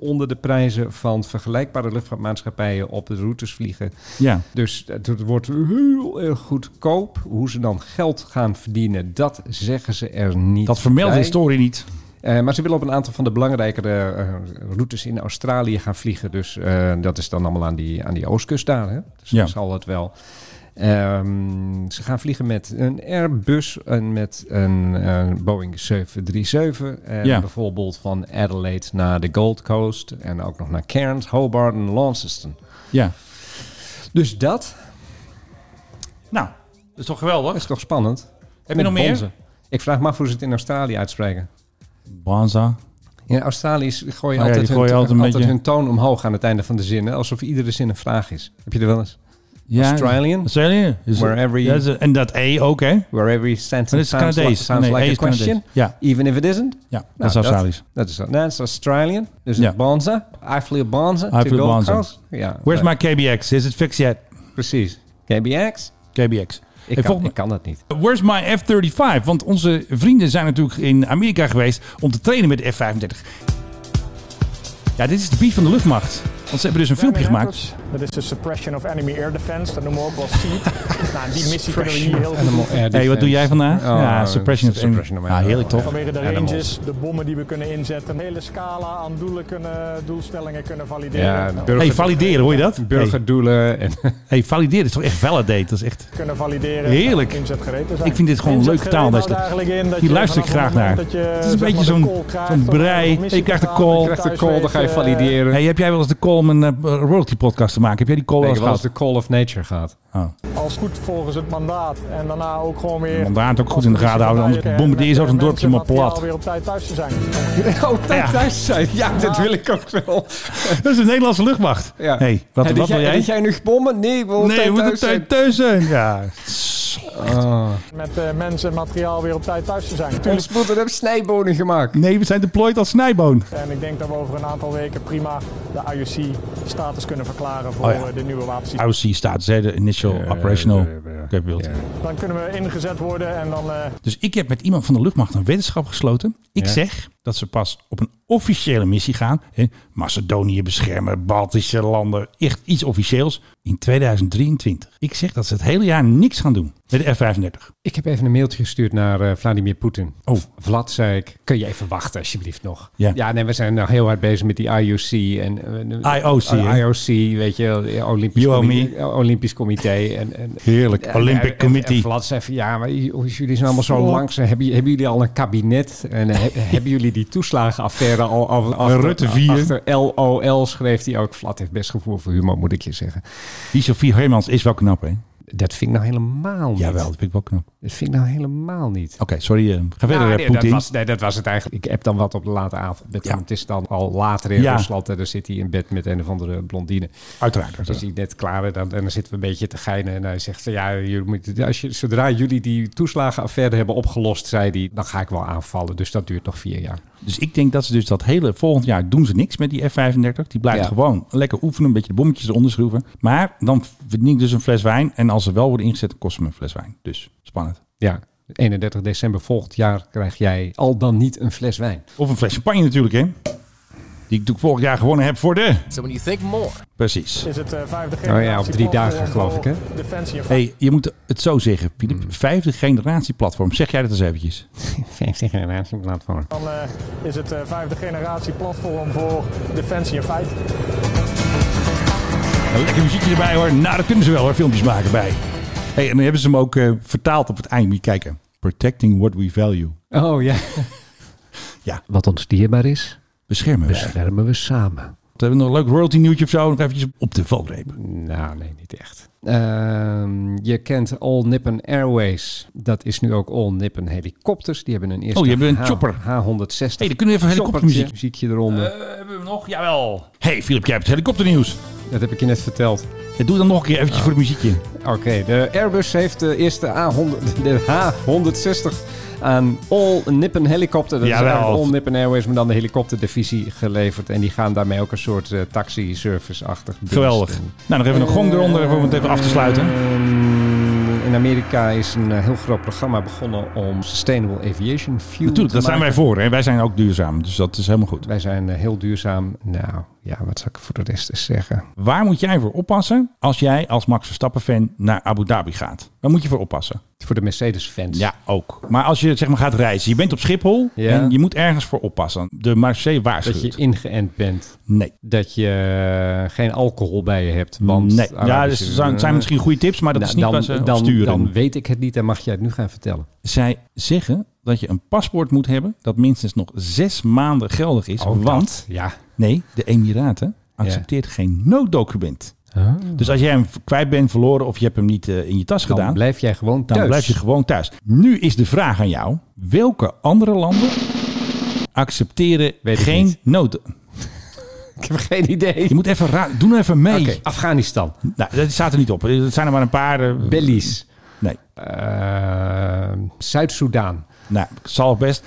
Speaker 7: onder de prijzen van vergelijkbare luchtvaartmaatschappijen op de routes vliegen.
Speaker 6: Ja.
Speaker 7: Dus het het wordt heel erg goedkoop. Hoe ze dan geld gaan verdienen, dat zeggen ze er niet.
Speaker 6: Dat vermeldt de
Speaker 7: bij.
Speaker 6: historie niet.
Speaker 7: Eh, maar ze willen op een aantal van de belangrijkere eh, routes in Australië gaan vliegen. Dus eh, dat is dan allemaal aan die, aan die oostkust daar. Hè? Dus
Speaker 6: Ja.
Speaker 7: dat zal het wel. Ehm, ze gaan vliegen met een Airbus en met een, eh, Boeing 737. En
Speaker 6: Ja.
Speaker 7: bijvoorbeeld van Adelaide naar de Gold Coast. En ook nog naar Cairns, Hobart en Launceston.
Speaker 6: Ja.
Speaker 7: Dus dat
Speaker 6: Nou, dat is toch geweldig?
Speaker 7: is toch spannend.
Speaker 6: Heb je nog meer?
Speaker 7: Bonzen. Ik vraag me af hoe ze het in Australië uitspreken.
Speaker 6: Banza.
Speaker 7: In Australië gooien
Speaker 6: Oh ja,
Speaker 7: altijd,
Speaker 6: die gooien
Speaker 7: hun,
Speaker 6: altijd een
Speaker 7: altijd
Speaker 6: beetje-
Speaker 7: hun toon omhoog aan het einde van de zinnen. Alsof iedere zin een vraag is. Heb je er wel eens? Australian?
Speaker 6: Australian. Is-
Speaker 7: Wherever you-
Speaker 6: Ja, is- en dat E ook, hè?
Speaker 7: Where every
Speaker 6: Maar dit
Speaker 7: sentence
Speaker 6: is
Speaker 7: sounds, like,
Speaker 6: Canadees.
Speaker 7: sounds
Speaker 6: Nee,
Speaker 7: like
Speaker 6: hij
Speaker 7: a
Speaker 6: is Canadees.
Speaker 7: question.
Speaker 6: Ja.
Speaker 7: Even if it isn't.
Speaker 6: Ja, dat
Speaker 7: Nou,
Speaker 6: is Australisch.
Speaker 7: Dat is, dat is Australian. Dus
Speaker 6: Ja.
Speaker 7: een bonza. I flew a bonza.
Speaker 6: I
Speaker 7: to
Speaker 6: flew a
Speaker 7: Gold
Speaker 6: bonza.
Speaker 7: Coast. Ja,
Speaker 6: Where's
Speaker 7: nee,
Speaker 6: my KBX? Is it fixed yet?
Speaker 7: Precies. KBX?
Speaker 6: KBX. Hey,
Speaker 7: Ik, kan,
Speaker 6: volgende-
Speaker 7: ik kan dat niet.
Speaker 6: Where's my F-35? Want onze vrienden zijn natuurlijk in Amerika geweest om te trainen met de F-35. Ja, dit is de bief van de luchtmacht. Want ze hebben dus een filmpje gemaakt.
Speaker 14: Dat is de suppression of enemy air defense. Dat noemen we ook wel SEED. nou, die missie kunnen we hier heel
Speaker 7: Animal
Speaker 14: goed
Speaker 7: Air
Speaker 6: Hey, wat doe jij vandaag?
Speaker 7: Oh,
Speaker 6: ja, suppression of
Speaker 7: suppression of
Speaker 6: Ja,
Speaker 7: animal.
Speaker 6: heerlijk toch?
Speaker 14: Vanwege de
Speaker 7: Animals.
Speaker 14: ranges, de bommen die we kunnen inzetten. Een hele scala aan doelen kunnen, doelstellingen kunnen valideren.
Speaker 7: Ja,
Speaker 14: Nou,
Speaker 7: burger-
Speaker 6: hey, valideren, hoor je dat? Hey,
Speaker 7: Burgerdoelen. En
Speaker 6: hey, valideren is toch echt validate? Dat is echt...
Speaker 14: kunnen valideren.
Speaker 6: Heerlijk.
Speaker 14: Inzet gereden zijn.
Speaker 6: Ik vind dit gewoon een leuke taal,
Speaker 14: Inzetgereed
Speaker 6: deze.
Speaker 14: houdt eigenlijk in dat
Speaker 6: Hier
Speaker 14: je
Speaker 6: luister ik
Speaker 14: vanaf
Speaker 6: graag
Speaker 14: het moment
Speaker 6: naar.
Speaker 14: dat je,
Speaker 6: Het is een
Speaker 14: zeg maar,
Speaker 6: beetje
Speaker 14: de
Speaker 6: zo'n-
Speaker 14: call krijgt
Speaker 6: zo'n
Speaker 14: of een
Speaker 6: brei.
Speaker 14: missie
Speaker 6: Je krijgt de
Speaker 14: bepaalt,
Speaker 6: call.
Speaker 14: je
Speaker 6: Je
Speaker 7: krijgt de
Speaker 14: thuis
Speaker 7: call, dan
Speaker 14: weet,
Speaker 7: ga je
Speaker 14: eh,
Speaker 7: valideren.
Speaker 6: Hey, heb jij wel eens de call om een eh, royalty podcast te maken? Heb jij die call
Speaker 7: ik
Speaker 6: wel
Speaker 7: heb
Speaker 6: eens
Speaker 7: wel eens
Speaker 6: gehad?
Speaker 7: de Call of Nature gehad.
Speaker 6: Oh.
Speaker 14: Als goed volgens het mandaat. En daarna ook gewoon weer...
Speaker 6: Mandaat ook goed in de gaten houden, anders
Speaker 14: Kijken en
Speaker 6: bombardeer je
Speaker 14: met,
Speaker 6: zo zo'n
Speaker 14: eh,
Speaker 6: dorpje maar
Speaker 14: mensen
Speaker 6: plat.
Speaker 14: materiaal weer op tijd thuis te zijn.
Speaker 7: Oh, tijd
Speaker 6: Ja.
Speaker 7: thuis zijn. Ja, dat wil ik ook wel.
Speaker 6: Dat is de Nederlandse luchtmacht.
Speaker 7: Ja.
Speaker 6: Hey, wat,
Speaker 7: Hey,
Speaker 6: wat wil jij?
Speaker 7: Weet jij nu bommen? Nee, we
Speaker 6: Nee, we moeten
Speaker 7: thuis eh, zijn.
Speaker 6: thuis, thuis zijn. Ja.
Speaker 14: Met eh, mensen en materiaal weer op tijd thuis te zijn.
Speaker 7: Ons moeder heeft snijbonen gemaakt.
Speaker 6: Nee, we zijn deployed als snijboon.
Speaker 14: En ik denk dat we over een aantal weken prima de IOC-status kunnen verklaren voor
Speaker 6: Oh ja.
Speaker 14: eh, de nieuwe wapensysteem.
Speaker 6: IOC staat, zei de Initial Operational Capability.
Speaker 14: Dan kunnen we ingezet worden en dan... eh,
Speaker 6: Dus ik heb met iemand van de luchtmacht een wetenschap gesloten. Ik
Speaker 7: Ja.
Speaker 6: zeg dat ze pas op een officiële missie gaan. Hè, Macedonië beschermen, Baltische landen, echt iets officieels. In 2023. Ik zeg dat ze het hele jaar niks gaan doen met de F-35.
Speaker 7: Ik heb even een mailtje gestuurd naar eh, Vladimir Poetin.
Speaker 6: Oh.
Speaker 7: Vlad, zei ik, kun je even wachten alsjeblieft nog?
Speaker 6: Ja.
Speaker 7: nee, we zijn nog heel hard bezig met die IOC. En, eh,
Speaker 6: IOC, hè?
Speaker 7: IOC, weet je, Olympisch,
Speaker 6: You owe
Speaker 7: Comité- eh, Olympisch Comité. En, en,
Speaker 6: Heerlijk.
Speaker 7: en-
Speaker 6: Olympic
Speaker 7: en- en-
Speaker 6: Committee.
Speaker 7: en Vlad zei van, ja, maar j- oh, jullie zijn allemaal zo
Speaker 6: Vlad.
Speaker 7: lang. Ze- Hebben, hebben jullie al een kabinet? En eh, he- hebben jullie die toeslagenaffaire al... al achter,
Speaker 6: Rutte vier.
Speaker 7: Achter LOL schreef hij ook. Vlad heeft best gevoel voor humor, moet ik je zeggen.
Speaker 6: Die Sophie Hermans is wel knap, hè?
Speaker 7: Dat vind ik nou helemaal niet.
Speaker 6: Jawel, dat vind ik wel knap. Oké,
Speaker 7: Dat vind ik nou helemaal niet.
Speaker 6: sorry. eh, ga verder,
Speaker 7: Nou,
Speaker 6: eh,
Speaker 7: nee, dat
Speaker 6: Poetin.
Speaker 7: was, nee, dat was het eigenlijk. Ik heb dan wat op de late avond. Met
Speaker 6: Ja.
Speaker 7: hem. Het is dan al later in
Speaker 6: Ja.
Speaker 7: Rusland. En dan zit hij in bed met een of andere blondine.
Speaker 6: Uiteraard.
Speaker 7: Dus
Speaker 6: uiteraard.
Speaker 7: hij net klaar en dan, en dan zitten we een beetje te geinen. En hij zegt, van, ja, jullie moeten, als je, zodra jullie die toeslagenaffaire hebben opgelost, zei hij, dan ga ik wel aanvallen. Dus dat duurt nog vier jaar.
Speaker 6: Dus ik denk dat ze dus dat hele volgend jaar doen ze niks met die F-35. Die blijven
Speaker 7: Ja.
Speaker 6: gewoon lekker oefenen, een beetje de bommetjes eronder schroeven. Maar dan verdien ik dus een fles wijn. En als ze wel worden ingezet, dan kost het me een fles wijn. Dus spannend.
Speaker 7: Ja, 31 december volgend jaar krijg jij al dan niet een fles wijn.
Speaker 6: Of een fles champagne natuurlijk, hè? Die ik natuurlijk vorig jaar gewonnen heb voor de...
Speaker 9: So when you think more,
Speaker 6: Precies.
Speaker 14: is het eh, vijfde
Speaker 7: Nou ja,
Speaker 14: generatie...
Speaker 7: op drie dagen,
Speaker 14: platform
Speaker 7: geloof
Speaker 14: voor
Speaker 7: ik, hè?
Speaker 14: Defensie en
Speaker 6: hey, je moet het zo zeggen, Filip. Vijfde generatie platform. Zeg jij dat eens eventjes.
Speaker 7: 50 generatie platform.
Speaker 14: dan eh, is het eh, vijfde generatie platform voor Defensie en Feit.
Speaker 6: Een lekker muziekje erbij hoor. Nou, daar kunnen ze wel hoor, filmpjes maken bij. hey, en dan hebben ze hem ook eh, vertaald op het eind. Moet je kijken. Protecting what we value.
Speaker 7: Oh ja.
Speaker 6: Ja.
Speaker 7: Wat ons dierbaar is,
Speaker 6: Beschermen we. ze.
Speaker 7: beschermen we samen.
Speaker 6: We hebben nog een leuk royalty nieuwtje of zo. Nog eventjes op de valreep.
Speaker 7: Nou, nee, niet echt. Ehm, je kent All Nippon Airways. Dat is nu ook All Nippon Helikopters. Die hebben een eerste
Speaker 6: Oh, die hebben een
Speaker 7: H-
Speaker 6: chopper.
Speaker 7: H160.
Speaker 6: Hey, dan kunnen we even helikoptermuziek.
Speaker 7: Choppertje, muziekje eronder.
Speaker 6: hebben we nog? Jawel. hey, Filip, jij hebt het helikopternieuws.
Speaker 7: Dat heb ik je net verteld.
Speaker 6: Ja, doe dan nog een keer eventjes voor het muziekje.
Speaker 7: Oké, de Airbus heeft de eerste A100, de H160 aan All Nippon Helicopter. Dat
Speaker 6: Jawel.
Speaker 7: is eigenlijk All Nippon Airways, maar dan de helikopterdivisie geleverd. En die gaan daarmee ook een soort eh, taxi-service-achtig. dienst
Speaker 6: Geweldig.
Speaker 7: doen.
Speaker 6: Nou, nog even een gong eronder om het even af te sluiten.
Speaker 7: Ehm, in Amerika is een eh, heel groot programma begonnen om Sustainable Aviation Fuel te
Speaker 6: Natuurlijk, daar zijn wij
Speaker 7: maken.
Speaker 6: voor. Hè? Wij zijn ook duurzaam, dus dat is helemaal goed.
Speaker 7: Wij zijn eh, heel duurzaam. Nou, ja, wat zou ik voor de rest eens zeggen?
Speaker 6: Waar moet jij voor oppassen als jij als Max Verstappen-fan naar Abu Dhabi gaat? Waar moet je voor oppassen?
Speaker 7: Voor de Mercedes-fans.
Speaker 6: Ja, ook. Maar als je zeg maar gaat reizen, je bent op Schiphol
Speaker 7: Ja.
Speaker 6: en je moet ergens voor oppassen. De Marseille
Speaker 7: Dat
Speaker 6: waarschuwt.
Speaker 7: je ingeënt bent.
Speaker 6: Nee.
Speaker 7: Dat je eh, geen alcohol bij je hebt. Want ah, Nou,
Speaker 6: Nee. Ja, dus er zijn- zijn misschien goede tips, maar dat is niet
Speaker 7: dan,
Speaker 6: wat ze
Speaker 7: dan,
Speaker 6: sturen.
Speaker 7: Dan weet ik het niet en mag jij het nu gaan vertellen.
Speaker 6: Zij zeggen dat je een paspoort moet hebben dat minstens nog zes maanden geldig is.
Speaker 7: Ook
Speaker 6: Oh, want
Speaker 7: Oh, dat, ja.
Speaker 6: nee, de Emiraten accepteert geen nooddocument.
Speaker 7: Ah.
Speaker 6: Dus als jij hem kwijt bent, verloren of je hebt hem niet eh, in je tas
Speaker 7: Dan
Speaker 6: gedaan,
Speaker 7: blijf jij gewoon
Speaker 6: dan
Speaker 7: thuis.
Speaker 6: blijf je gewoon thuis. Nu is de vraag aan jou: welke andere landen accepteren
Speaker 7: Weet ik
Speaker 6: geen
Speaker 7: niet.
Speaker 6: nood?
Speaker 7: Ik heb geen idee.
Speaker 6: Je moet even ra- doe nou even mee.
Speaker 7: Oké, Afghanistan.
Speaker 6: Nou, dat staat er niet op. Er zijn er maar een paar. eh,
Speaker 7: Belize.
Speaker 6: nee,
Speaker 7: eh, Zuid-Soedan.
Speaker 6: nou, zal best.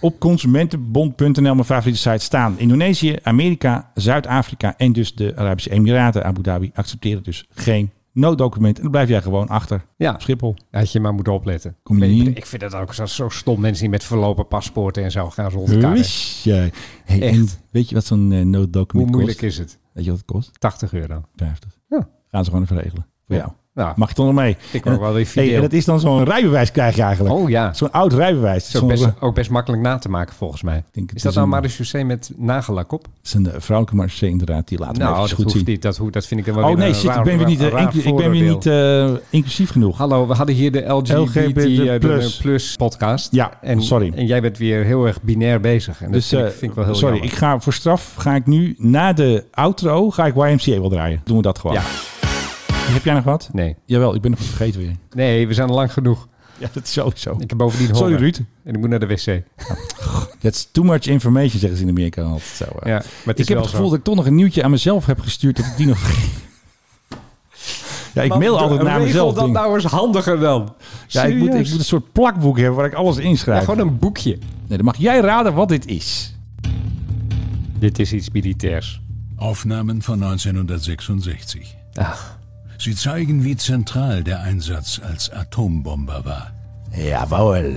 Speaker 6: Op consumentenbond.nl, mijn favoriete site, staan Indonesië, Amerika, Zuid-Afrika en dus de Arabische Emiraten, Abu Dhabi, accepteren dus geen nooddocument. En dan blijf jij gewoon achter
Speaker 7: Ja.
Speaker 6: op Schiphol.
Speaker 7: Had je maar moeten opletten.
Speaker 6: Kom je niet in?
Speaker 7: Ik vind het ook zo, zo stom. Mensen die met verlopen paspoorten en zo gaan rondkarren.
Speaker 6: Wist jij? Hey,
Speaker 7: Echt.
Speaker 6: en weet je wat zo'n eh, nooddocument
Speaker 7: Hoe
Speaker 6: kost?
Speaker 7: moeilijk is het?
Speaker 6: Weet je wat het kost?
Speaker 7: 80 euro.
Speaker 6: 50.
Speaker 7: Ja.
Speaker 6: Gaan ze gewoon even regelen. Voor
Speaker 7: Ja.
Speaker 6: jou.
Speaker 7: Ja.
Speaker 6: Mag je toch nog mee?
Speaker 7: Ik word
Speaker 6: En-
Speaker 7: wel weer fideel.
Speaker 6: en dat is dan zo'n rijbewijs krijg je eigenlijk.
Speaker 7: Oh ja.
Speaker 6: Zo'n oud rijbewijs.
Speaker 7: Zo
Speaker 6: Zo'n- eh,
Speaker 7: best, ook best makkelijk na te maken volgens mij.
Speaker 6: denk het
Speaker 7: Is dat
Speaker 6: is
Speaker 7: nou
Speaker 6: dus een-
Speaker 7: marechaussee met nagellak op?
Speaker 6: Het is een eh, vrouwelijke marché inderdaad. Die laat hem
Speaker 7: nou,
Speaker 6: even
Speaker 7: dat
Speaker 6: goed
Speaker 7: hoeft
Speaker 6: zien.
Speaker 7: niet. Dat, hoe, dat vind ik dan wel
Speaker 6: Oh
Speaker 7: weer
Speaker 6: nee,
Speaker 7: een
Speaker 6: shit, ik
Speaker 7: raar-
Speaker 6: ben weer niet, eh,
Speaker 7: raar
Speaker 6: inclu- ik ben weer
Speaker 7: voorbeeld.
Speaker 6: niet eh, inclusief genoeg.
Speaker 7: Hallo, we hadden hier de LGBT,
Speaker 6: LGBT+.
Speaker 7: eh, plus. podcast.
Speaker 6: Ja,
Speaker 7: en,
Speaker 6: sorry.
Speaker 7: En jij bent weer heel erg binair bezig. En
Speaker 6: Dus
Speaker 7: dat vind,
Speaker 6: eh,
Speaker 7: ik, vind ik wel heel
Speaker 6: sorry,
Speaker 7: jammer.
Speaker 6: ik ga voor straf ga ik nu na de outro ga ik YMCA wel draaien. Doen we dat gewoon.
Speaker 7: Ja.
Speaker 6: Heb jij nog wat?
Speaker 7: Nee.
Speaker 6: Jawel, ik ben nog wat vergeten weer.
Speaker 7: nee, we zijn al lang genoeg.
Speaker 6: Ja, dat is sowieso.
Speaker 7: Ik heb bovendien
Speaker 6: Sorry,
Speaker 7: honger.
Speaker 6: Ruud.
Speaker 7: En ik moet naar de wc.
Speaker 6: That's too much information, zeggen ze in Amerika altijd zo. eh.
Speaker 7: Ja, maar het is
Speaker 6: ik heb
Speaker 7: wel
Speaker 6: het gevoel
Speaker 7: zo.
Speaker 6: dat ik toch nog een nieuwtje aan mezelf heb gestuurd. Dat ik die nog... ja, ik
Speaker 7: Maar
Speaker 6: mail altijd
Speaker 7: doe-
Speaker 6: naar
Speaker 7: regel
Speaker 6: mezelf.
Speaker 7: dat
Speaker 6: dingen.
Speaker 7: nou eens handiger dan.
Speaker 6: ja, ik moet, ik
Speaker 7: Serieus.
Speaker 6: moet een soort plakboek hebben waar ik alles
Speaker 7: Ja,
Speaker 6: inschrijf.
Speaker 7: gewoon een boekje.
Speaker 6: Nee, dan mag jij raden wat dit is.
Speaker 7: Dit is iets militairs.
Speaker 15: Aufnahmen von 1966.
Speaker 7: Ach.
Speaker 15: Sie zeigen, wie zentral der Einsatz als Atombomber war.
Speaker 6: Jawohl.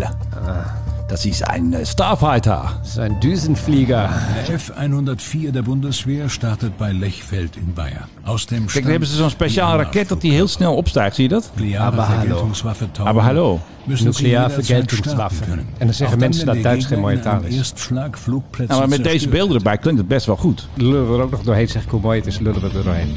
Speaker 6: Dat is een eh, Starfighter.
Speaker 7: Het is een duizendvlieger.
Speaker 15: Der F-104 der Bundeswehr startet bei Lechfeld in Bayern. Aus dem
Speaker 6: Kijk, dan hebben ze zo'n speciale raket dat die heel snel opstijgt. Zie je dat?
Speaker 15: nukleare
Speaker 7: Aber hallo.
Speaker 15: Vergeltungswaffe Taurus
Speaker 6: Aber hallo.
Speaker 15: müssen sie
Speaker 7: Nuklear
Speaker 15: jederzeit
Speaker 7: Vergeltungswaffe.
Speaker 15: starten können.
Speaker 7: En dan zeggen
Speaker 15: Auch dann,
Speaker 7: mensen
Speaker 15: wenn
Speaker 7: dat
Speaker 15: der
Speaker 7: Duits geen
Speaker 15: Gegner
Speaker 7: mooie
Speaker 15: in einem
Speaker 7: taal is.
Speaker 15: Erstschlag Flugplätze
Speaker 6: Nou, maar met deze
Speaker 15: zerstört.
Speaker 6: beelden erbij klinkt het best wel goed.
Speaker 7: Lullen we er ook nog doorheen, zeg ik hoe mooi het is, lullen we er doorheen.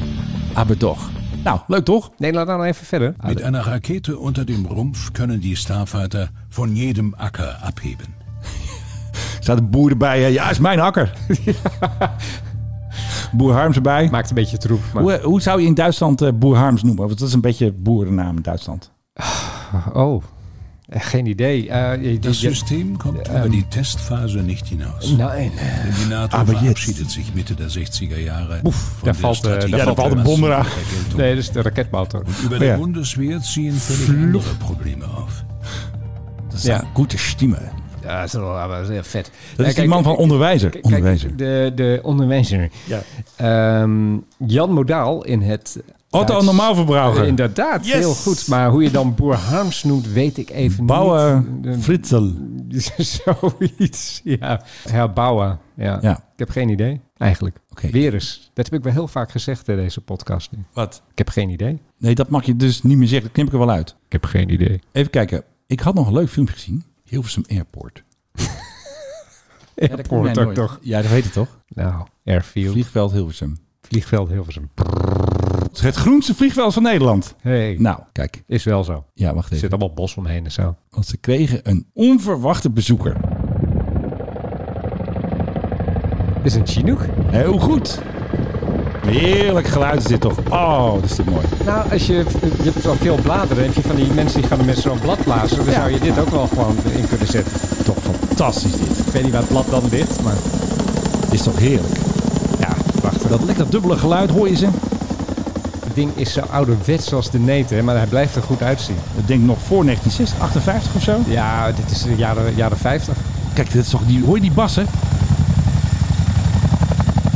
Speaker 6: Aber toch. Nou, leuk toch?
Speaker 7: Nee, laat dan even verder.
Speaker 15: Mit einer Rakete unter dem Rumpf können die Starfighter von jedem Acker abheben.
Speaker 6: Er staat een boer erbij. eh, Ja, is mijn hakker. boer Harms erbij.
Speaker 7: Maakt een beetje troep. Maar...
Speaker 6: Hoe, hoe zou je in Duitsland eh, boer Harms noemen? Want dat is een beetje boerennaam in Duitsland.
Speaker 7: Oh, eh, geen idee. Eh, je- je-
Speaker 15: Das
Speaker 7: je-
Speaker 15: System kommt über die Testphase nicht hinaus.
Speaker 7: ähm. Nein.
Speaker 15: Denn die NATO
Speaker 6: Aber jetzt-
Speaker 15: verabschiedet sich Mitte der 60er Jahre von
Speaker 7: da fällt, äh, da
Speaker 15: Strategie
Speaker 6: fällt
Speaker 15: der
Speaker 6: der Bomber ab.
Speaker 15: Massenvergeltung.
Speaker 7: Nee, dat is de raketmotor.
Speaker 15: Über der
Speaker 6: Ja.
Speaker 15: Bundeswehr ziehen völlig andere Probleme auf.
Speaker 6: Dat is
Speaker 7: Ja.
Speaker 6: een goede stimme.
Speaker 7: Ja, dat is wel maar dat is heel vet.
Speaker 6: Dat is
Speaker 7: Eh,
Speaker 6: die
Speaker 7: kijk,
Speaker 6: man van
Speaker 7: eh,
Speaker 6: onderwijzer.
Speaker 7: kijk,
Speaker 6: onderwijzer.
Speaker 7: De, de onderwijzer.
Speaker 6: Ja.
Speaker 7: Ehm, Jan Modaal in het...
Speaker 6: Otto
Speaker 7: Duits-
Speaker 6: Normalverbraucher.
Speaker 7: Eh, Inderdaad,
Speaker 6: Yes.
Speaker 7: heel goed. Maar hoe je dan Boer Harms noemt, weet ik even
Speaker 6: Bauer
Speaker 7: niet. Eh,
Speaker 6: Fritzel.
Speaker 7: Zoiets, ja. Herbouwen, ja.
Speaker 6: Ja.
Speaker 7: Ik heb geen idee, eigenlijk.
Speaker 6: Oké.
Speaker 7: Weer eens. Dat heb ik wel heel vaak gezegd in deze podcast nu.
Speaker 6: Wat?
Speaker 7: Ik heb geen idee.
Speaker 6: Nee, dat mag je dus niet meer zeggen. Dat knip ik er wel uit.
Speaker 7: Ik heb geen idee.
Speaker 6: Even kijken. Ik had nog een leuk filmpje gezien. Hilversum Airport.
Speaker 7: Ja,
Speaker 6: dat
Speaker 7: dat
Speaker 6: kom jij
Speaker 7: hoort ook
Speaker 6: nooit.
Speaker 7: toch.
Speaker 6: Ja, dat weet je toch?
Speaker 7: Nou, Airfield,
Speaker 6: Vliegveld Hilversum.
Speaker 7: vliegveld Hilversum.
Speaker 6: Het is het groenste vliegveld van Nederland.
Speaker 7: Hey,
Speaker 6: Nou, kijk.
Speaker 7: is wel zo.
Speaker 6: Ja, wacht
Speaker 7: Er
Speaker 6: even.
Speaker 7: zit allemaal bos omheen en zo.
Speaker 6: Want ze kregen een onverwachte bezoeker.
Speaker 7: Dit is een Chinook.
Speaker 6: Heel goed. Heerlijk geluid is dit toch? Oh, dat is dit mooi.
Speaker 7: Nou, als je, je hebt wel veel bladeren. Heb je van die mensen die gaan met zo'n blad blazen. Dan
Speaker 6: Ja.
Speaker 7: zou je dit ook wel gewoon in kunnen zetten.
Speaker 6: Toch fantastisch dit.
Speaker 7: Ik weet niet waar het blad dan ligt, maar...
Speaker 6: Dit is toch heerlijk.
Speaker 7: Ja, wacht.
Speaker 6: Dat lekker dubbele geluid hoor je ze.
Speaker 7: ding is zo ouderwets als de neten, maar hij blijft er goed uitzien.
Speaker 6: Ik denk nog voor 1958 of zo?
Speaker 7: Ja, dit is de jaren, jaren 50.
Speaker 6: Kijk, dit is toch die, hoor je die bassen?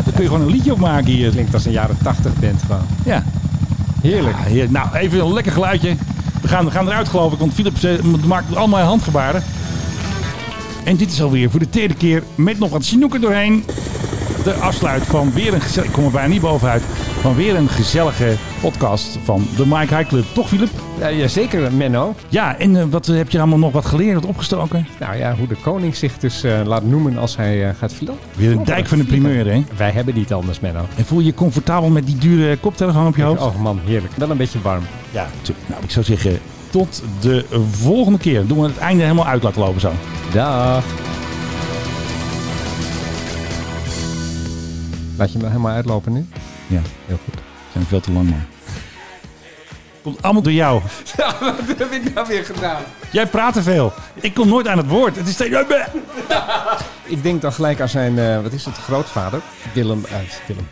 Speaker 6: Daar kun je gewoon een liedje op maken hier.
Speaker 7: Klinkt als een jaren 80 band gewoon.
Speaker 6: Ja.
Speaker 7: Heerlijk.
Speaker 6: Ja, heerlijk. Nou, even een lekker geluidje. We gaan, we gaan eruit geloof ik, want Philip ze- maakt allemaal handgebaren. En dit is alweer voor de tweede keer met nog wat snoeken doorheen. De afsluit van weer een gezellige... Ik kom er bijna niet bovenuit. Van weer een gezellige podcast van de Mike High Club. Toch, Philip?
Speaker 7: Ja, jazeker, Menno.
Speaker 6: Ja, en eh, wat eh, heb je allemaal nog wat geleerd, wat opgestoken?
Speaker 7: Nou ja, hoe de koning zich dus eh, laat noemen als hij eh, gaat vliegen.
Speaker 6: Weer een dijk van de primeur, hè?
Speaker 7: Wij hebben niet anders, Menno.
Speaker 6: En voel je je comfortabel met die dure koptelefoon op je hoofd?
Speaker 7: Oh man, heerlijk. Wel een beetje warm.
Speaker 6: Ja, natuurlijk. Nou, ik zou zeggen, tot de volgende keer. Doen we het einde helemaal uit laten lopen zo.
Speaker 7: Dag. Laat je hem helemaal uitlopen nu?
Speaker 6: Ja,
Speaker 7: heel goed.
Speaker 6: Zijn veel te lang, maar. Komt allemaal door jou.
Speaker 7: Ja, wat heb ik nou weer gedaan?
Speaker 6: Jij praat te veel. Ik kom nooit aan het woord. Het is steeds...
Speaker 7: Ik denk dan gelijk aan zijn, eh, wat is het, grootvader? Willem uit. Willem.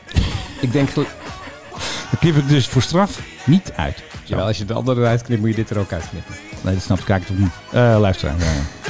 Speaker 7: ik denk gel-
Speaker 6: Dan knip ik dus voor straf niet uit.
Speaker 7: Jawel, als je de andere eruit knipt, moet je dit er ook uitknippen.
Speaker 6: Nee, dat snapt Kijk toch niet. Eh luisteraar. ja, ja.